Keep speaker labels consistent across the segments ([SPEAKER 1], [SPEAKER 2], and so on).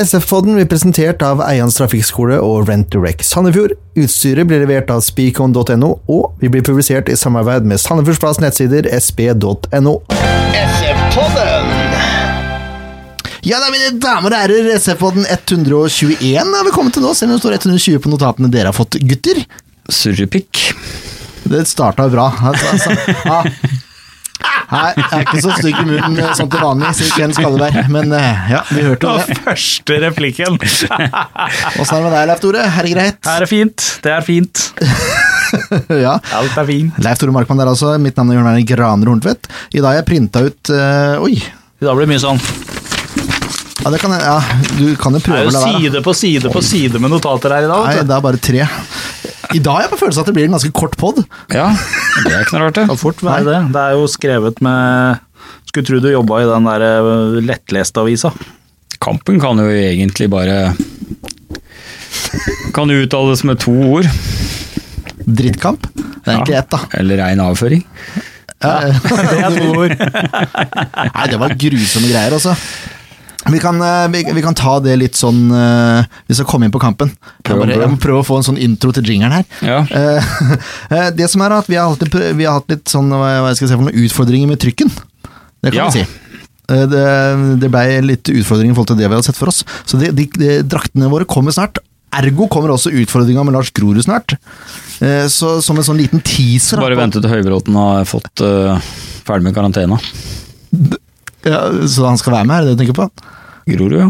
[SPEAKER 1] SF-podden blir presentert av Eians trafikkskole og Rent Direct Sandefjord. Utstyret blir levert av speakon.no, og vi blir publisert i samarbeid med Sandefjordsplass nettsider sp.no. Ja da, mine damer og herrer, SF-podden 121 har vi kommet til nå, selv om det står 120 på notatene dere har fått, gutter.
[SPEAKER 2] Surrepikk.
[SPEAKER 1] Det starta bra. Altså, ja. Nei, jeg er ikke så stygg i munnen eh, sånn til vanlig, sier Ken Skalleberg. Men eh, ja, vi hørte
[SPEAKER 3] Det
[SPEAKER 1] jo
[SPEAKER 3] var
[SPEAKER 1] det.
[SPEAKER 3] første replikken.
[SPEAKER 1] Åssen er det med deg, Leif Tore? Er det greit?
[SPEAKER 3] Er det fint? Det er fint.
[SPEAKER 1] Ja.
[SPEAKER 3] Alt er fint.
[SPEAKER 1] Leif Tore Markmann der altså. Mitt navn er Jørn Werner Graner Horntvedt. I dag har jeg printa ut eh, Oi!
[SPEAKER 2] Da blir det mye sånn.
[SPEAKER 1] Ja, det kan jeg, ja, du kan jo
[SPEAKER 3] Det
[SPEAKER 1] prøve
[SPEAKER 3] er
[SPEAKER 1] å
[SPEAKER 3] jo
[SPEAKER 1] la være. da.
[SPEAKER 3] side på side på side med notater her i dag.
[SPEAKER 1] Nei,
[SPEAKER 3] vet du.
[SPEAKER 1] det er bare tre. I dag har jeg på følelsen at det blir en ganske kort pod.
[SPEAKER 2] Ja, det er ikke noe rart,
[SPEAKER 3] Kan
[SPEAKER 2] det.
[SPEAKER 3] fort være det. Det er jo skrevet med Skulle tro du jobba i den der eh, lettleste avisa.
[SPEAKER 2] Kampen kan jo egentlig bare Kan jo uttales med to ord,
[SPEAKER 1] Drittkamp. Det er egentlig ett, da.
[SPEAKER 2] eller rein avføring.
[SPEAKER 1] Ja.
[SPEAKER 3] Det er to ord.
[SPEAKER 1] Nei, det var grusomme greier, altså. Vi kan, eh, vi, vi kan ta det litt sånn eh, Vi skal komme inn på kampen. Jeg,
[SPEAKER 2] Prøv,
[SPEAKER 1] bare, jeg må prøve å få en sånn intro til jingeren her.
[SPEAKER 2] Ja.
[SPEAKER 1] Eh, eh, det som er at Vi har hatt, litt prø- vi har hatt litt sånn, hva hva skal jeg si, for noen utfordringer med trykken. Det kan
[SPEAKER 2] Ja.
[SPEAKER 1] vi si. Eh, Det, det blei litt utfordringer i forhold til det vi hadde sett for oss. Så de, de, de, draktene våre kommer snart. Ergo kommer også utfordringa med Lars Grorud snart. Eh, Så som en sånn liten teaser da,
[SPEAKER 2] Bare
[SPEAKER 1] på-
[SPEAKER 2] vente til Høybråten har fått eh, ferdig med karantena.
[SPEAKER 1] Ja, Så han skal være med her, er det du tenker på?
[SPEAKER 2] Grorud, ja.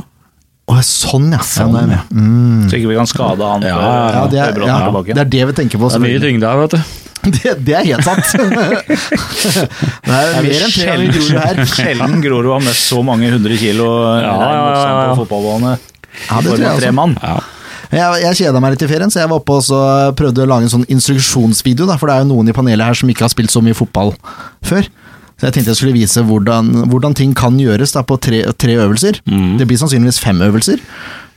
[SPEAKER 1] Å, sånn ja. ja,
[SPEAKER 2] Sånn,
[SPEAKER 1] nå er jeg med.
[SPEAKER 2] ja.
[SPEAKER 3] Så ikke vi kan skade han
[SPEAKER 2] Ja,
[SPEAKER 3] før
[SPEAKER 1] Mm. Ja, det er,
[SPEAKER 3] Høybråten
[SPEAKER 1] ja,
[SPEAKER 3] er tilbake.
[SPEAKER 1] det er det vi tenker på.
[SPEAKER 2] Det er mye tyngde her, vet du.
[SPEAKER 1] Det, det er helt sant. det er
[SPEAKER 3] Det er
[SPEAKER 1] mer enn tre ganger
[SPEAKER 3] sjelden-
[SPEAKER 1] Grorud her.
[SPEAKER 3] Sjelden Grorud har mest så mange hundre kilo
[SPEAKER 2] Ja,
[SPEAKER 3] rein
[SPEAKER 2] ja, ja,
[SPEAKER 3] motstand
[SPEAKER 2] ja.
[SPEAKER 3] på fotballbane.
[SPEAKER 1] Ja, det
[SPEAKER 3] for
[SPEAKER 1] tror jeg
[SPEAKER 3] tre
[SPEAKER 1] altså.
[SPEAKER 3] mann.
[SPEAKER 2] Ja.
[SPEAKER 1] Jeg, jeg kjeda meg litt i ferien, så jeg var oppe og så prøvde å lage en sånn instruksjonsvideo. Da, for det er jo noen i panelet her som ikke har spilt så mye fotball før. Så jeg tenkte jeg skulle vise hvordan, hvordan ting kan gjøres da, på tre, tre øvelser.
[SPEAKER 2] Mm.
[SPEAKER 1] Det blir sannsynligvis fem øvelser.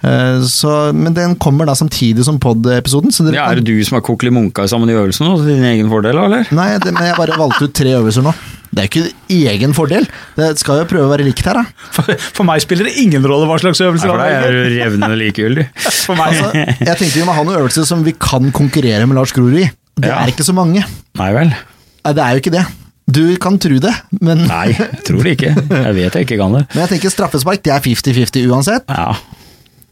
[SPEAKER 1] Eh, så, men den kommer da samtidig som pod-episoden. Så dere
[SPEAKER 2] Ja, er
[SPEAKER 1] kan,
[SPEAKER 2] det du som har kokelimunka sammen i øvelsen nå, til din egen fordel, eller?
[SPEAKER 1] nei, det, men jeg bare valgte ut tre øvelser nå. Det er jo ikke egen fordel. Det skal jo prøve å være likt her, da.
[SPEAKER 3] For, for meg spiller det ingen rolle hva slags
[SPEAKER 2] Nei,
[SPEAKER 3] øvelser
[SPEAKER 2] for
[SPEAKER 3] han
[SPEAKER 2] deg er
[SPEAKER 3] gjør.
[SPEAKER 2] du revnende likegyldig.
[SPEAKER 3] For meg,
[SPEAKER 1] Altså, jeg tenkte vi må ha noen øvelser som vi kan konkurrere med Lars Grorud i. Det
[SPEAKER 2] Ja.
[SPEAKER 1] er ikke så mange.
[SPEAKER 2] Nei vel.
[SPEAKER 1] Nei, det er jo ikke det. Du kan tro det, men,
[SPEAKER 2] Nei, tror det ikke. Jeg vet jeg ikke kan det.
[SPEAKER 1] men jeg tenker straffespark det er 50-50 uansett.
[SPEAKER 2] Ja.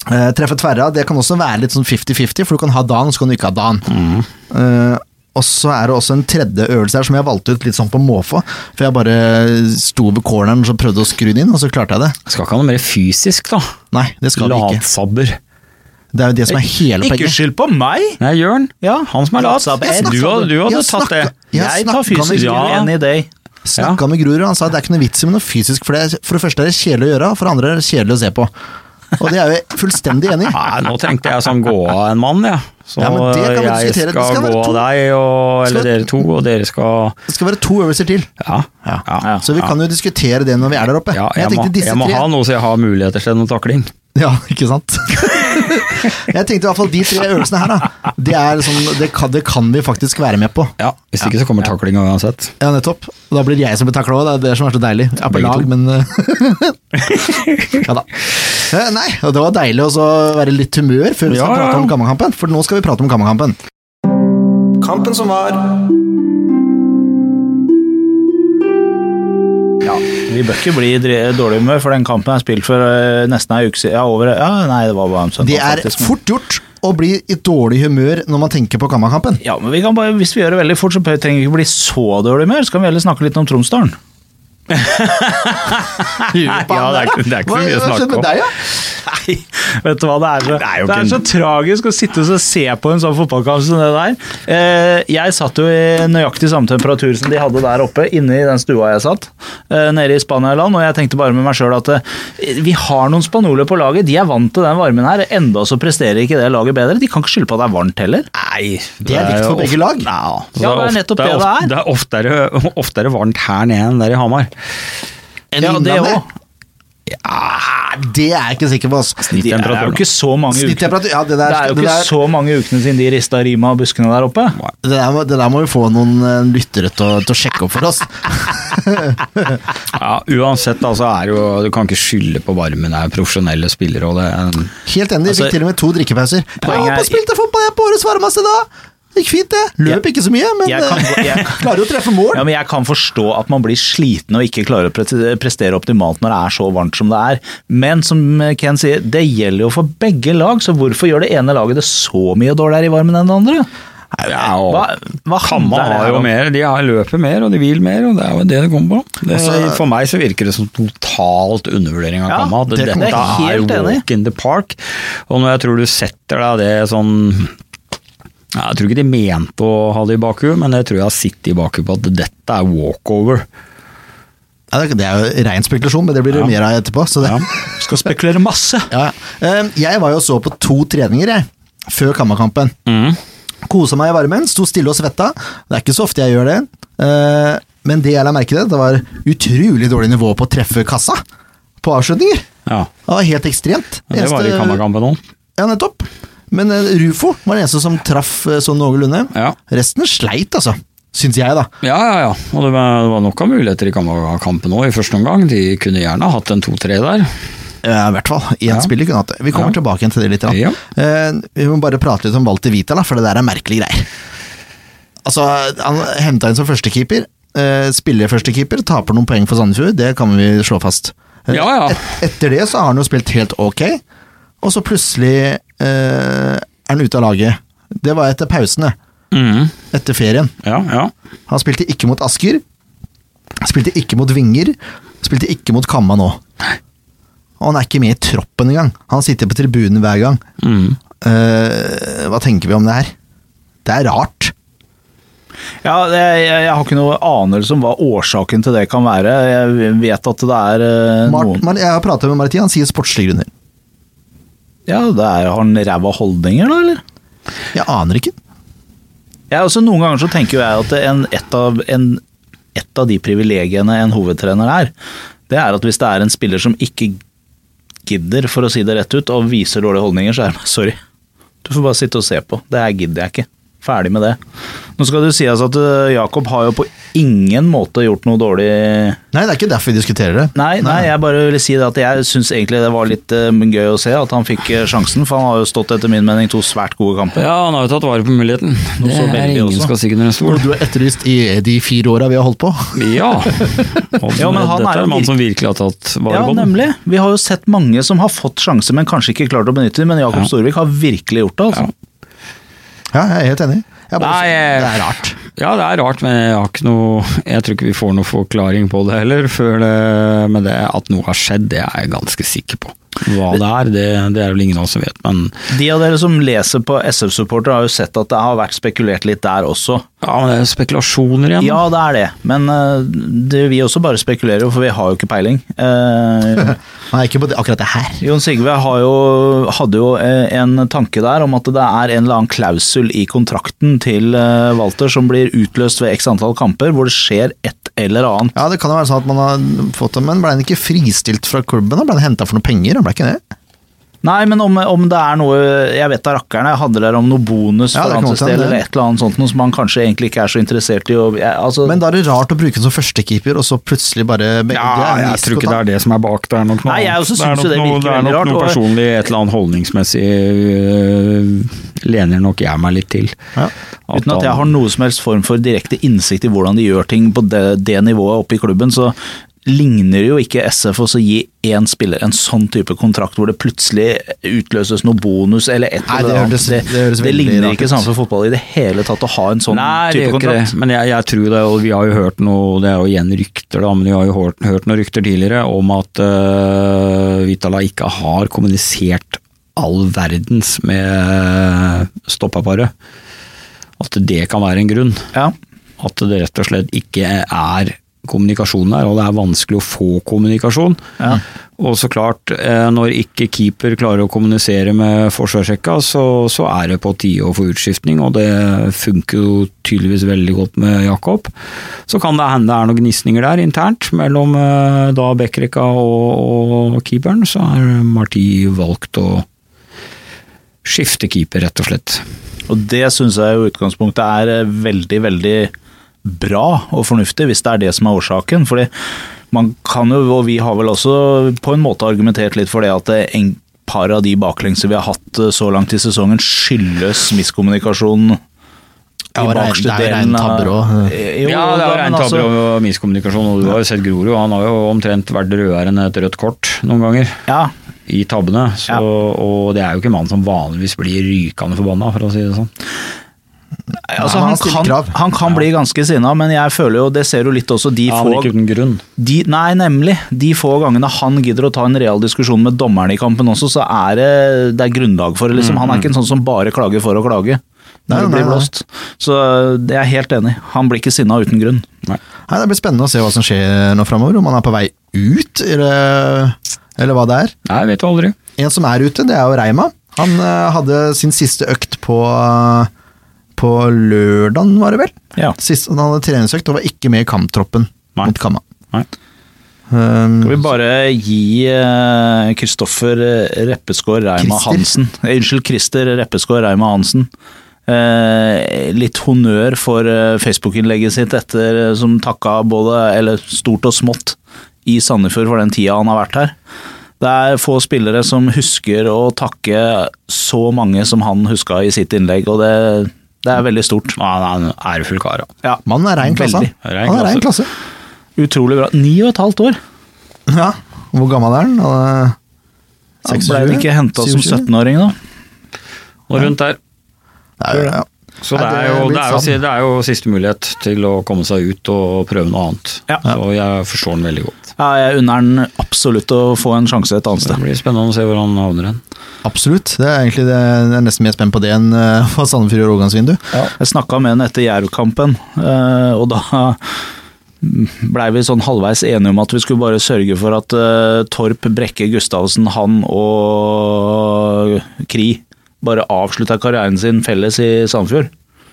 [SPEAKER 1] Eh, treffe tverra det kan også være litt sånn 50-50, for du kan ha dan, så kan du ikke ha dan.
[SPEAKER 3] Mhm.
[SPEAKER 1] Eh, og så er det også en tredje øvelse her som jeg valgte ut litt sånn på måfå. For jeg bare sto ved corneren og prøvde å skru den inn, og så klarte jeg det.
[SPEAKER 2] Skal ikke ha noe mer fysisk, da.
[SPEAKER 1] Nei, det skal vi ikke.
[SPEAKER 2] Latsabber.
[SPEAKER 1] Det er jo det som er hele
[SPEAKER 3] ikke
[SPEAKER 1] poenget.
[SPEAKER 3] skyld på meg!
[SPEAKER 2] Nei, Jørn.
[SPEAKER 3] Ja,
[SPEAKER 2] Han som er lat.
[SPEAKER 3] Latsabber.
[SPEAKER 2] Du, hadde- du hadde
[SPEAKER 1] Jeg
[SPEAKER 2] tatt det.
[SPEAKER 1] snakka- jeg
[SPEAKER 3] Jeg tar
[SPEAKER 1] snakka med
[SPEAKER 3] fysisk
[SPEAKER 2] Ja.
[SPEAKER 3] ja. enn i deg.
[SPEAKER 1] Snakka med Grorud, han sa det er ikke noe vits i med noe fysisk, for det, er- for det første er det kjedelig å gjøre, og for det andre er det kjedelig å se på. Og det er jeg jo fullstendig enig i.
[SPEAKER 2] Nei, nå tenkte jeg sånn gå av en mann, ja. Så
[SPEAKER 1] Ja, men det kan vi
[SPEAKER 2] jeg
[SPEAKER 1] diskutere.
[SPEAKER 2] skal,
[SPEAKER 1] Det skal være
[SPEAKER 2] gå av
[SPEAKER 1] to.
[SPEAKER 2] deg, og, eller
[SPEAKER 1] Skal-
[SPEAKER 2] dere to, og dere skal
[SPEAKER 1] Det skal være to øvelser til,
[SPEAKER 2] Ja.
[SPEAKER 1] Ja.
[SPEAKER 2] ja.
[SPEAKER 1] så vi kan jo diskutere det når vi er der oppe.
[SPEAKER 2] ja,
[SPEAKER 1] Men
[SPEAKER 2] jeg, må,
[SPEAKER 1] tenkte disse
[SPEAKER 2] jeg må
[SPEAKER 1] tre-
[SPEAKER 2] ha noe så jeg har muligheter til noe takling.
[SPEAKER 1] Ja, ikke sant? jeg tenkte i hvert fall de tre øvelsene her, da. Det, er sånn, det, kan, det kan vi faktisk være med på.
[SPEAKER 2] Ja, Hvis ikke så kommer taklinga uansett.
[SPEAKER 1] Ja, nettopp. Og da blir det jeg som blir takla òg, det er det som er så deilig. Jeg er på
[SPEAKER 2] Begge
[SPEAKER 1] lag,
[SPEAKER 2] to.
[SPEAKER 1] men eh, Ja da. Eh, Nei, og det var deilig også å være i litt humør før vi skal
[SPEAKER 2] Ja, ja,
[SPEAKER 1] prate
[SPEAKER 2] ja.
[SPEAKER 1] om Gammakampen, for nå skal vi prate om Gammakampen. Kampen som var
[SPEAKER 3] Ja, Vi bør ikke bli dre- dårlig humør, for den kampen er spilt for eh, nesten ei uke siden. Ja, over, ja, nei, det var bare en søndag,
[SPEAKER 1] Det er
[SPEAKER 3] faktisk. men-
[SPEAKER 1] fort gjort å bli i dårlig humør når man tenker på Gammakampen.
[SPEAKER 3] Ja, men vi kan bare, Hvis vi gjør det veldig fort, så trenger vi ikke bli så dårlig humør. Så kan vi heller snakke litt om Tromsdalen.
[SPEAKER 2] Ja, det er, ikke- det er ikke så
[SPEAKER 1] Hva
[SPEAKER 2] mye å
[SPEAKER 1] skjedde
[SPEAKER 2] snakke
[SPEAKER 1] med
[SPEAKER 2] om.
[SPEAKER 1] deg, ja?
[SPEAKER 3] Nei, vet du hva det er? Så,
[SPEAKER 2] er
[SPEAKER 3] det er,
[SPEAKER 2] jo ikke
[SPEAKER 3] så
[SPEAKER 2] en-
[SPEAKER 3] tragisk å sitte og se på en sånn fotballkamp som det der. Eh, jeg satt jo i nøyaktig samme temperatur som de hadde der oppe, inne i den stua jeg satt, eh, nede i Spanialand, og jeg tenkte bare med meg sjøl at eh, vi har noen spanjoler på laget, de er vant til den varmen her, enda så presterer ikke det laget bedre. De kan ikke skylde på at det er varmt heller.
[SPEAKER 2] Nei,
[SPEAKER 1] Det er likt for begge lag.
[SPEAKER 3] Ja, det er nettopp det det er.
[SPEAKER 2] Det er oftere, oftere varmt her nede enn der i Hamar.
[SPEAKER 1] Enn
[SPEAKER 3] Ja, det
[SPEAKER 1] Innlandet.
[SPEAKER 3] òg.
[SPEAKER 1] Ja, det er jeg ikke sikker på, altså.
[SPEAKER 2] Snitt
[SPEAKER 3] Det er jo
[SPEAKER 2] temperaturen,
[SPEAKER 3] ikke så mange ukene.
[SPEAKER 1] Snittemperatur Ja, det
[SPEAKER 3] Det
[SPEAKER 1] der,
[SPEAKER 3] er jo
[SPEAKER 1] det
[SPEAKER 3] ikke
[SPEAKER 1] der,
[SPEAKER 3] så mange ukene siden de rista rima av buskene der oppe.
[SPEAKER 1] det, der, må- det der må vi få noen eh, lyttere til å, til å sjekke opp for oss.
[SPEAKER 2] Ja, uansett, altså er jo Du kan ikke skylde på varmen, det er profesjonelle spillere og det er-
[SPEAKER 1] Helt enig,
[SPEAKER 2] Altså,
[SPEAKER 1] fikk til og med to drikkepauser.
[SPEAKER 3] poenget
[SPEAKER 1] ja,
[SPEAKER 3] er-
[SPEAKER 1] på spilte fotball jeg på årets varmeste da! Gikk fint, det. Løp ikke så mye, men
[SPEAKER 3] Jeg kan-
[SPEAKER 1] eh,
[SPEAKER 3] jeg-
[SPEAKER 1] klarer jo å treffe mål.
[SPEAKER 3] Ja, men Jeg kan forstå at man blir sliten og ikke klarer å pre- prestere optimalt når det er så varmt som det er, men som Ken sier, det gjelder jo for begge lag, så hvorfor gjør det ene laget det så mye dårligere i varmen enn det andre?
[SPEAKER 2] ja, og
[SPEAKER 3] Hva, hva
[SPEAKER 2] Kamma
[SPEAKER 3] handler det
[SPEAKER 2] har
[SPEAKER 3] her
[SPEAKER 2] jo
[SPEAKER 3] om?
[SPEAKER 2] mer, de har løper mer og de vil mer, og det er jo det det kommer på. Det,
[SPEAKER 1] Altså-
[SPEAKER 2] for meg så virker det som totalt undervurdering av
[SPEAKER 3] Ja,
[SPEAKER 2] Kamma. at
[SPEAKER 3] det- det er
[SPEAKER 2] Dette er
[SPEAKER 3] helt enig.
[SPEAKER 2] walk in the park, og når jeg tror du setter deg det sånn ja, Jeg tror ikke de mente å ha det i bakhuet, men jeg tror jeg har sittet i bakhuet på at dette er walkover.
[SPEAKER 1] Ja, det er- det er jo rein spekulasjon, men det blir det
[SPEAKER 2] Ja.
[SPEAKER 1] mer av etterpå. Så det,
[SPEAKER 2] Ja.
[SPEAKER 3] Skal spekulere masse.
[SPEAKER 1] ja. Eh, Jeg var jo og så på to treninger, jeg, før Kammerkampen.
[SPEAKER 2] Mm.
[SPEAKER 1] Kosa meg i varmen, sto stille og svetta. Det er ikke så ofte jeg gjør det. Eh, Men det jeg la merke til, det var utrolig dårlig nivå på å treffe kassa på avslutninger. Det
[SPEAKER 2] Ja,
[SPEAKER 1] var helt ekstremt.
[SPEAKER 2] men Det var i
[SPEAKER 1] Eneste-
[SPEAKER 2] Kamma-kampen òg.
[SPEAKER 1] Ja, nettopp. Men eh, Rufo var den eneste som traff eh, sånn noenlunde.
[SPEAKER 2] Ja.
[SPEAKER 1] Resten sleit, altså. Syns jeg, da.
[SPEAKER 2] Ja, ja, ja. Og det var, det var nok av muligheter i Kamma-kampen òg i første omgang. De kunne gjerne hatt en 2-3 der.
[SPEAKER 1] Ja, Eh, I hvert fall. Én
[SPEAKER 2] Ja.
[SPEAKER 1] spiller kunne hatt det. Vi kommer
[SPEAKER 2] Ja.
[SPEAKER 1] tilbake igjen til det litt. da.
[SPEAKER 2] Ja.
[SPEAKER 1] Eh, vi må bare prate litt om Walter Vita, da, for det der er merkelige greier. Altså, Han henta inn som førstekeeper. Uh, spiller førstekeeper, taper noen poeng for Sandefjord, det kan vi slå fast. Eh,
[SPEAKER 2] Ja, ja.
[SPEAKER 1] Et, etter det så har han jo spilt helt ok, og så plutselig eh, er han ute av laget. Det var etter pausen, det.
[SPEAKER 2] Mhm.
[SPEAKER 1] Etter ferien.
[SPEAKER 2] Ja, ja.
[SPEAKER 1] Han spilte ikke mot Asker. Spilte ikke mot Vinger. Spilte ikke mot Kamma nå. Og han er ikke med i troppen engang. Han sitter på tribunen hver gang.
[SPEAKER 2] Mhm.
[SPEAKER 1] Eh, hva tenker vi om det her? Det er rart.
[SPEAKER 3] Ja, jeg, jeg, jeg har ikke noe anelse om hva årsaken til det kan være. Jeg vet at det er eh,
[SPEAKER 1] Mart,
[SPEAKER 3] noen
[SPEAKER 1] Mar- jeg har pratet med Maritim, han sier sportslige grunner.
[SPEAKER 3] Ja, det er, Har han ræva holdninger, da, eller?
[SPEAKER 1] Jeg aner ikke.
[SPEAKER 3] Jeg, også, altså, noen ganger så tenker jo jeg at en, et, av, en, et av de privilegiene en hovedtrener er, det er at hvis det er en spiller som ikke gidder, for å si det rett ut, og viser dårlige holdninger, så er det bare sorry. Du får bare sitte og se på. Det her gidder jeg ikke. Ferdig med det. Nå skal det jo sies at øh, Jakob har jo på ingen måte gjort noe dårlig
[SPEAKER 1] Nei, det er ikke derfor vi diskuterer det.
[SPEAKER 3] Nei, nei, jeg bare ville si det at jeg syns egentlig det var litt eh, gøy å se at han fikk eh, sjansen, for han har jo stått etter min mening to svært gode kamper.
[SPEAKER 2] Ja, han har jo tatt vare på muligheten. Det
[SPEAKER 3] så
[SPEAKER 2] er
[SPEAKER 3] veldig
[SPEAKER 2] ingen
[SPEAKER 3] også.
[SPEAKER 2] skal stikke under en
[SPEAKER 1] Hvor
[SPEAKER 2] stol.
[SPEAKER 1] du er etterlyst i eh, de fire åra vi har holdt på.
[SPEAKER 2] Ja. Og
[SPEAKER 3] Ja, men han
[SPEAKER 2] dette
[SPEAKER 3] er
[SPEAKER 2] er
[SPEAKER 3] jo
[SPEAKER 2] en mann som virkelig har tatt vare
[SPEAKER 3] Ja,
[SPEAKER 2] på den.
[SPEAKER 3] nemlig. Vi har jo sett mange som har fått sjanser, men kanskje ikke klart å benytte dem. Men Jakob
[SPEAKER 2] Ja.
[SPEAKER 3] Storvik har virkelig gjort det. altså.
[SPEAKER 1] Ja, jeg er helt enig. Jeg bare,
[SPEAKER 2] Nei, jeg-
[SPEAKER 1] det er rart.
[SPEAKER 2] Ja, det er rart, men jeg har ikke noe Jeg tror ikke vi får noe forklaring på det heller. Før det, men det at noe har skjedd, det er jeg ganske sikker på. Hva det er, det, det er vel ingen av oss som vet, men
[SPEAKER 3] De av dere som leser på SF-supporter, har jo sett at det har vært spekulert litt der også.
[SPEAKER 2] Ja, men det er jo spekulasjoner igjen.
[SPEAKER 3] Ja, det er det, men eh, det, vi også bare spekulerer, jo, for vi har jo ikke peiling. Eh,
[SPEAKER 1] Nei, ikke på det, akkurat det her.
[SPEAKER 3] Jon Sigve har jo, hadde jo eh, en tanke der om at det er en eller annen klausul i kontrakten til eh, Walter som blir utløst ved x antall kamper, hvor det skjer et eller annet.
[SPEAKER 1] Ja, det kan jo være sånn at man har fått ham, men ble han ikke fristilt fra klubben? da? Ble han henta for noen penger? Han ble ikke det?
[SPEAKER 3] Nei, men om, om det er noe Jeg vet da rakkeren, jeg hadde der om noe bonus
[SPEAKER 1] Ja,
[SPEAKER 3] for
[SPEAKER 1] det kan
[SPEAKER 3] hans
[SPEAKER 1] godt
[SPEAKER 3] del,
[SPEAKER 1] hende,
[SPEAKER 3] eller
[SPEAKER 1] det.
[SPEAKER 3] et eller annet sånt noe som han kanskje egentlig ikke er så interessert i. Og, jeg, altså,
[SPEAKER 1] Men da er det rart å bruke ham som førstekeeper, og så plutselig bare begge
[SPEAKER 2] Ja, jeg tror ikke det er det som er bak. Det er nok noe
[SPEAKER 3] Nei, jeg
[SPEAKER 2] annet.
[SPEAKER 3] også
[SPEAKER 2] er
[SPEAKER 3] synes
[SPEAKER 2] nok
[SPEAKER 3] jo det
[SPEAKER 2] noe-
[SPEAKER 3] virker
[SPEAKER 2] det er
[SPEAKER 3] veldig
[SPEAKER 2] nok
[SPEAKER 3] rart,
[SPEAKER 2] noe
[SPEAKER 3] og-
[SPEAKER 2] personlig, et eller annet holdningsmessig øh, lener nok jeg meg litt til.
[SPEAKER 1] Ja.
[SPEAKER 3] Uten at jeg
[SPEAKER 2] han-
[SPEAKER 3] har noe som helst form for direkte innsikt i hvordan de gjør ting på det, det nivået oppe i klubben, så ligner jo ikke SF også å gi én spiller en sånn type kontrakt hvor det plutselig utløses noe bonus eller et
[SPEAKER 1] Nei, det
[SPEAKER 3] eller annet.
[SPEAKER 1] høres- det høres veldig
[SPEAKER 3] ligner
[SPEAKER 1] rart ut.
[SPEAKER 3] ikke samfunn for fotball i det hele tatt å ha en sånn
[SPEAKER 2] Nei, det gjør
[SPEAKER 3] type
[SPEAKER 2] ikke
[SPEAKER 3] kontrakt.
[SPEAKER 2] det. Men jeg, jeg tror det, og vi har jo hørt noe, det er jo igjen rykter, da, men vi har jo hørt, hørt noen rykter tidligere om at øh, Vitala ikke har kommunisert all verdens med stoppaparet. At det kan være en grunn.
[SPEAKER 3] Ja.
[SPEAKER 2] At det rett og slett ikke er kommunikasjonen er, og det er vanskelig å få kommunikasjon.
[SPEAKER 3] Ja.
[SPEAKER 2] Og så klart, eh, når ikke keeper klarer å kommunisere med forsvarsrekka, så, så er det på tide å få utskiftning, og det funker jo tydeligvis veldig godt med Jakob. Så kan det hende det er noen gnisninger der internt, mellom eh, da backrekka og, og keeperen, så har Marti valgt å skifte keeper, rett og slett.
[SPEAKER 3] Og det syns jeg i utgangspunktet er eh, veldig, veldig bra og fornuftig, hvis det er det som er årsaken. Fordi man kan jo, og vi har vel også på en måte argumentert litt for det at det en par av de baklengser vi har hatt eh, så langt i sesongen, skyldes miskommunikasjon.
[SPEAKER 1] Ja, og rein- det er jo reine tabber også.
[SPEAKER 3] Eh,
[SPEAKER 2] ja, det er rent tabber
[SPEAKER 3] altså-
[SPEAKER 2] og miskommunikasjon. Og du har jo sett Grorud, han har jo omtrent vært rødere enn et rødt kort noen ganger
[SPEAKER 3] Ja,
[SPEAKER 2] i tabbene. Så,
[SPEAKER 3] Ja.
[SPEAKER 2] Og det er jo ikke mannen som vanligvis blir rykende forbanna, for å si det sånn.
[SPEAKER 1] Ja,
[SPEAKER 3] altså,
[SPEAKER 1] men
[SPEAKER 3] han,
[SPEAKER 1] han stiller krav.
[SPEAKER 3] kan, han kan bli ganske sinna, men jeg føler jo, det ser jo litt også, de
[SPEAKER 2] Han er
[SPEAKER 3] få
[SPEAKER 2] ikke uten grunn.
[SPEAKER 3] De, nei, nemlig. De få gangene han gidder å ta en real diskusjon med dommerne i kampen også, så er det, det er grunnlag for det. Liksom. Han er ikke en sånn som bare klager for å klage.
[SPEAKER 1] Mm, Nei,
[SPEAKER 3] Når det
[SPEAKER 1] nei,
[SPEAKER 3] blir
[SPEAKER 1] nei.
[SPEAKER 3] blåst. Så eh, det er jeg helt enig. i. Han blir ikke sinna uten grunn.
[SPEAKER 1] Nei, det blir spennende å se hva som skjer nå framover, om han er på vei ut, eller, eller hva det er.
[SPEAKER 2] Nei, vet du aldri.
[SPEAKER 1] En som er ute, det er jo Reima. Han eh, hadde sin siste økt på, på lørdagen, var det vel?
[SPEAKER 3] Ja.
[SPEAKER 1] Sist, han hadde treningsøkt og var ikke med i kamptroppen
[SPEAKER 2] Nei.
[SPEAKER 1] mot Kamma.
[SPEAKER 2] Nei.
[SPEAKER 1] Um,
[SPEAKER 3] Skal vi bare gi eh, Kristoffer eh, Reppeskår Reima
[SPEAKER 1] Christer.
[SPEAKER 3] Hansen eh, Unnskyld, Christer Reppeskår Reima Hansen. Eh, litt honnør for eh, Facebook-innlegget sitt etter eh, som takka både, eller stort og smått, i Sandefjord for den tida han har vært her. Det er få spillere som husker å takke så mange som han huska i sitt innlegg, og det, det er veldig stort.
[SPEAKER 2] Nei, han er en ærefull kar. ja.
[SPEAKER 3] Ja,
[SPEAKER 1] Mannen er rein klasse.
[SPEAKER 3] Veldig.
[SPEAKER 1] han. Han er rein klasse.
[SPEAKER 3] Utrolig bra. Ni og et halvt år.
[SPEAKER 1] Ja. Hvor gammel er han? Han er
[SPEAKER 3] Han ble
[SPEAKER 1] 26,
[SPEAKER 3] vel ikke henta som
[SPEAKER 1] 27?
[SPEAKER 3] 17-åring, da.
[SPEAKER 2] Og rundt der.
[SPEAKER 1] Det er jo det, ja.
[SPEAKER 2] Så det
[SPEAKER 1] Nei,
[SPEAKER 2] er, sånn. jo,
[SPEAKER 1] litt
[SPEAKER 2] det, er jo, si-
[SPEAKER 1] sant.
[SPEAKER 2] det er jo siste mulighet til å komme seg ut og prøve noe annet.
[SPEAKER 3] Ja.
[SPEAKER 2] Så jeg forstår den veldig godt.
[SPEAKER 3] Ja, jeg unner den absolutt å få en sjanse et annet
[SPEAKER 2] Så det
[SPEAKER 3] sted.
[SPEAKER 2] blir spennende å se hvor han havner hen.
[SPEAKER 1] Absolutt. Det er egentlig det, jeg er nesten mer spent på det enn eh, hva Sandefjord gjør i overgangsvinduet.
[SPEAKER 3] Jeg snakka med han etter Jerv-kampen, eh, og da blei vi sånn halvveis enige om at vi skulle bare sørge for at eh, Torp, Brekke, Gustavsen, han og Kri bare avslutta karrieren sin felles i Sandfjord.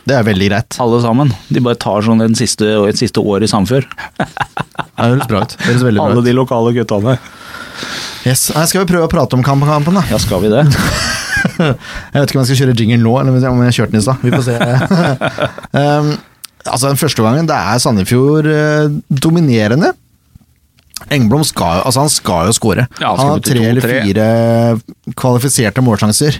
[SPEAKER 1] Det er veldig greit.
[SPEAKER 3] Alle sammen. De bare tar sånn en siste, et siste år i Sandfjord.
[SPEAKER 1] Det høres bra ut. Det høres veldig
[SPEAKER 3] Alle
[SPEAKER 1] bra ut.
[SPEAKER 3] de lokale guttene.
[SPEAKER 1] Yes. Nei, skal vi prøve å prate om kamp- kampen, da?
[SPEAKER 3] Ja, skal vi det?
[SPEAKER 1] Jeg vet ikke om jeg skal kjøre jingle nå, eller om jeg kjørte den i stad. Vi får se. um, altså, den første gangen, det er Sandefjord eh, dominerende. Engblom skal, jo- altså han skal jo skåre.
[SPEAKER 2] Ja, han skal
[SPEAKER 1] han har
[SPEAKER 2] ut i
[SPEAKER 1] tre
[SPEAKER 2] to,
[SPEAKER 1] eller
[SPEAKER 2] tre.
[SPEAKER 1] fire kvalifiserte målsjanser.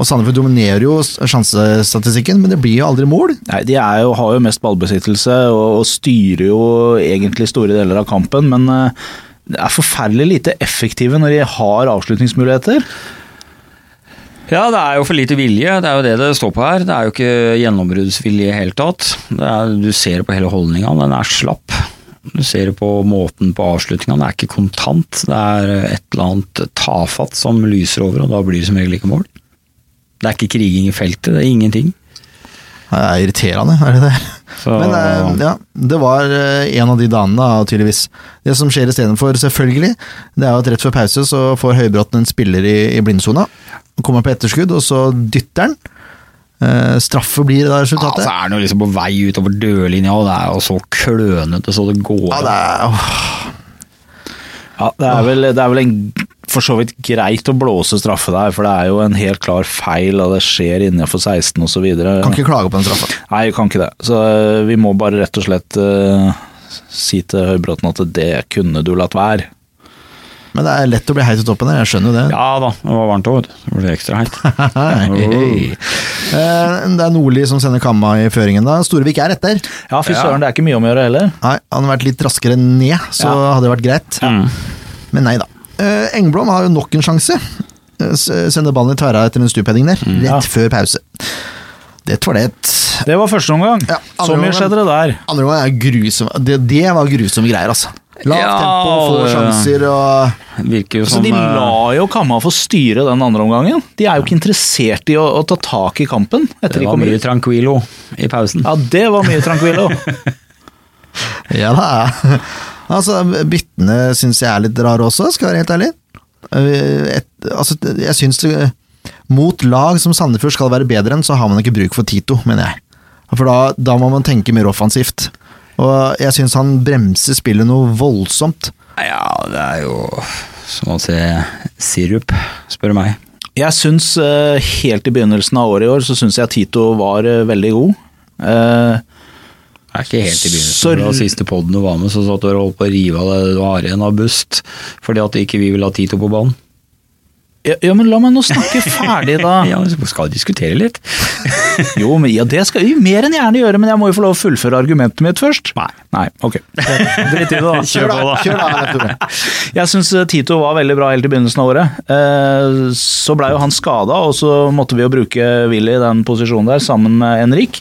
[SPEAKER 1] Og Sandefjord dominerer jo s- sjansestatistikken, men det blir jo aldri mål.
[SPEAKER 3] Nei, De er jo, har jo mest ballbesittelse og, og styrer jo egentlig store deler av kampen, men eh, det er forferdelig lite effektive når de har avslutningsmuligheter.
[SPEAKER 2] Ja, det er jo for lite vilje. Det er jo det det står på her. Det er jo ikke gjennombruddsvilje i det hele tatt. Det er, du ser det på hele holdninga, den er slapp. Du ser det på måten på avslutninga, den er ikke kontant. Det er et eller annet tafatt som lyser over, og da blir det som regel ikke mål. Det er ikke kriging i feltet, det er ingenting.
[SPEAKER 1] Det er irriterende, er det det?
[SPEAKER 2] Så-
[SPEAKER 1] Men eh, ja, det var eh, en av de damene, da, tydeligvis. Det som skjer istedenfor, selvfølgelig, det er jo at rett før pause så får Høybråten en spiller i, i blindsona. Han Kommer på etterskudd, og så dytter han. Eh, straffe blir da
[SPEAKER 2] Ja,
[SPEAKER 1] resultatet.
[SPEAKER 2] så er den jo liksom på vei utover dørlinja, og det er jo så klønete så det går
[SPEAKER 1] Ja,
[SPEAKER 2] av.
[SPEAKER 1] det er, åh,
[SPEAKER 3] Ja, det, er vel, det er vel en for så vidt greit å blåse straffe der, for det er jo en helt klar feil, og det skjer innenfor 16 osv.
[SPEAKER 1] kan ikke klage på den straffa.
[SPEAKER 3] Nei, vi kan ikke det. Så eh, vi må bare rett og slett eh, si til Høybråten at det kunne du latt være.
[SPEAKER 1] Men det er lett å bli heit i toppen her, jeg skjønner jo det.
[SPEAKER 2] Ja da, det var varmt òg, vet du. Det ble ekstra heit.
[SPEAKER 1] Hei.
[SPEAKER 2] Oh.
[SPEAKER 1] Eh, det er Nordli som sender kamma i føringen da. Storevik er etter.
[SPEAKER 3] Ja, fy
[SPEAKER 2] Ja.
[SPEAKER 3] søren, det er ikke mye om å gjøre heller.
[SPEAKER 1] Nei, han hadde vært litt raskere ned, så
[SPEAKER 3] Ja.
[SPEAKER 1] hadde det vært greit.
[SPEAKER 2] Mm.
[SPEAKER 1] Men nei da. Eh, Engblom har jo nok en sjanse. Eh, s- Sender ballen i tverra etter en stupheading der, rett
[SPEAKER 3] Ja.
[SPEAKER 1] før pause. Det var det.
[SPEAKER 3] Det var første omgang.
[SPEAKER 1] Ja, andre
[SPEAKER 3] så mye
[SPEAKER 1] omgang.
[SPEAKER 3] skjedde det der.
[SPEAKER 1] Andre gang er grusom. Det, det var grusomme greier, altså. Lavt
[SPEAKER 2] Ja,
[SPEAKER 1] tempo, få
[SPEAKER 2] det-
[SPEAKER 1] sjanser og
[SPEAKER 2] Virker jo
[SPEAKER 3] Så
[SPEAKER 2] som
[SPEAKER 3] de
[SPEAKER 2] eh,
[SPEAKER 3] la jo Kamma få styre den andre omgangen. De er jo ikke interessert i å, å ta tak i kampen. etter
[SPEAKER 2] Det
[SPEAKER 3] de
[SPEAKER 2] var
[SPEAKER 3] kommer
[SPEAKER 2] mye
[SPEAKER 3] ut.
[SPEAKER 2] tranquilo i pausen.
[SPEAKER 3] Ja, det var mye tranquillo.
[SPEAKER 1] Ja da. Altså, byttene syns jeg er litt rare også, skal jeg være helt ærlig. Eh, Et, altså, jeg syns det Mot lag som Sandefjord skal være bedre enn, så har man ikke bruk for Tito, mener jeg. For da, da må man tenke mer offensivt. Og jeg syns han bremser spillet noe voldsomt.
[SPEAKER 2] Ja, det er jo som å se sirup, spør du meg.
[SPEAKER 3] Jeg syns eh, helt i begynnelsen av året i år, så syns jeg Tito var eh, veldig god. Eh,
[SPEAKER 2] Det er ikke helt i
[SPEAKER 3] Sorry.
[SPEAKER 2] begynnelsen. Da siste podden du var med, så satt du og holdt på å rive av deg du har igjen av bust, fordi at ikke vi vil ha Tito på banen.
[SPEAKER 3] ja, ja, men la meg nå snakke ferdig, da.
[SPEAKER 2] Ja, vi skal diskutere litt.
[SPEAKER 3] Jo, men ja, det skal vi mer enn gjerne gjøre, men jeg må jo få lov å fullføre argumentet mitt først. Nei. Nei, ok. Drit i det, da.
[SPEAKER 1] Kjør da! Kjør da Leif Tore.
[SPEAKER 3] Jeg syns eh, Tito var veldig bra helt i begynnelsen av året. Eh, Så blei jo han skada, og så måtte vi jo bruke Willy i den posisjonen der sammen med Henrik.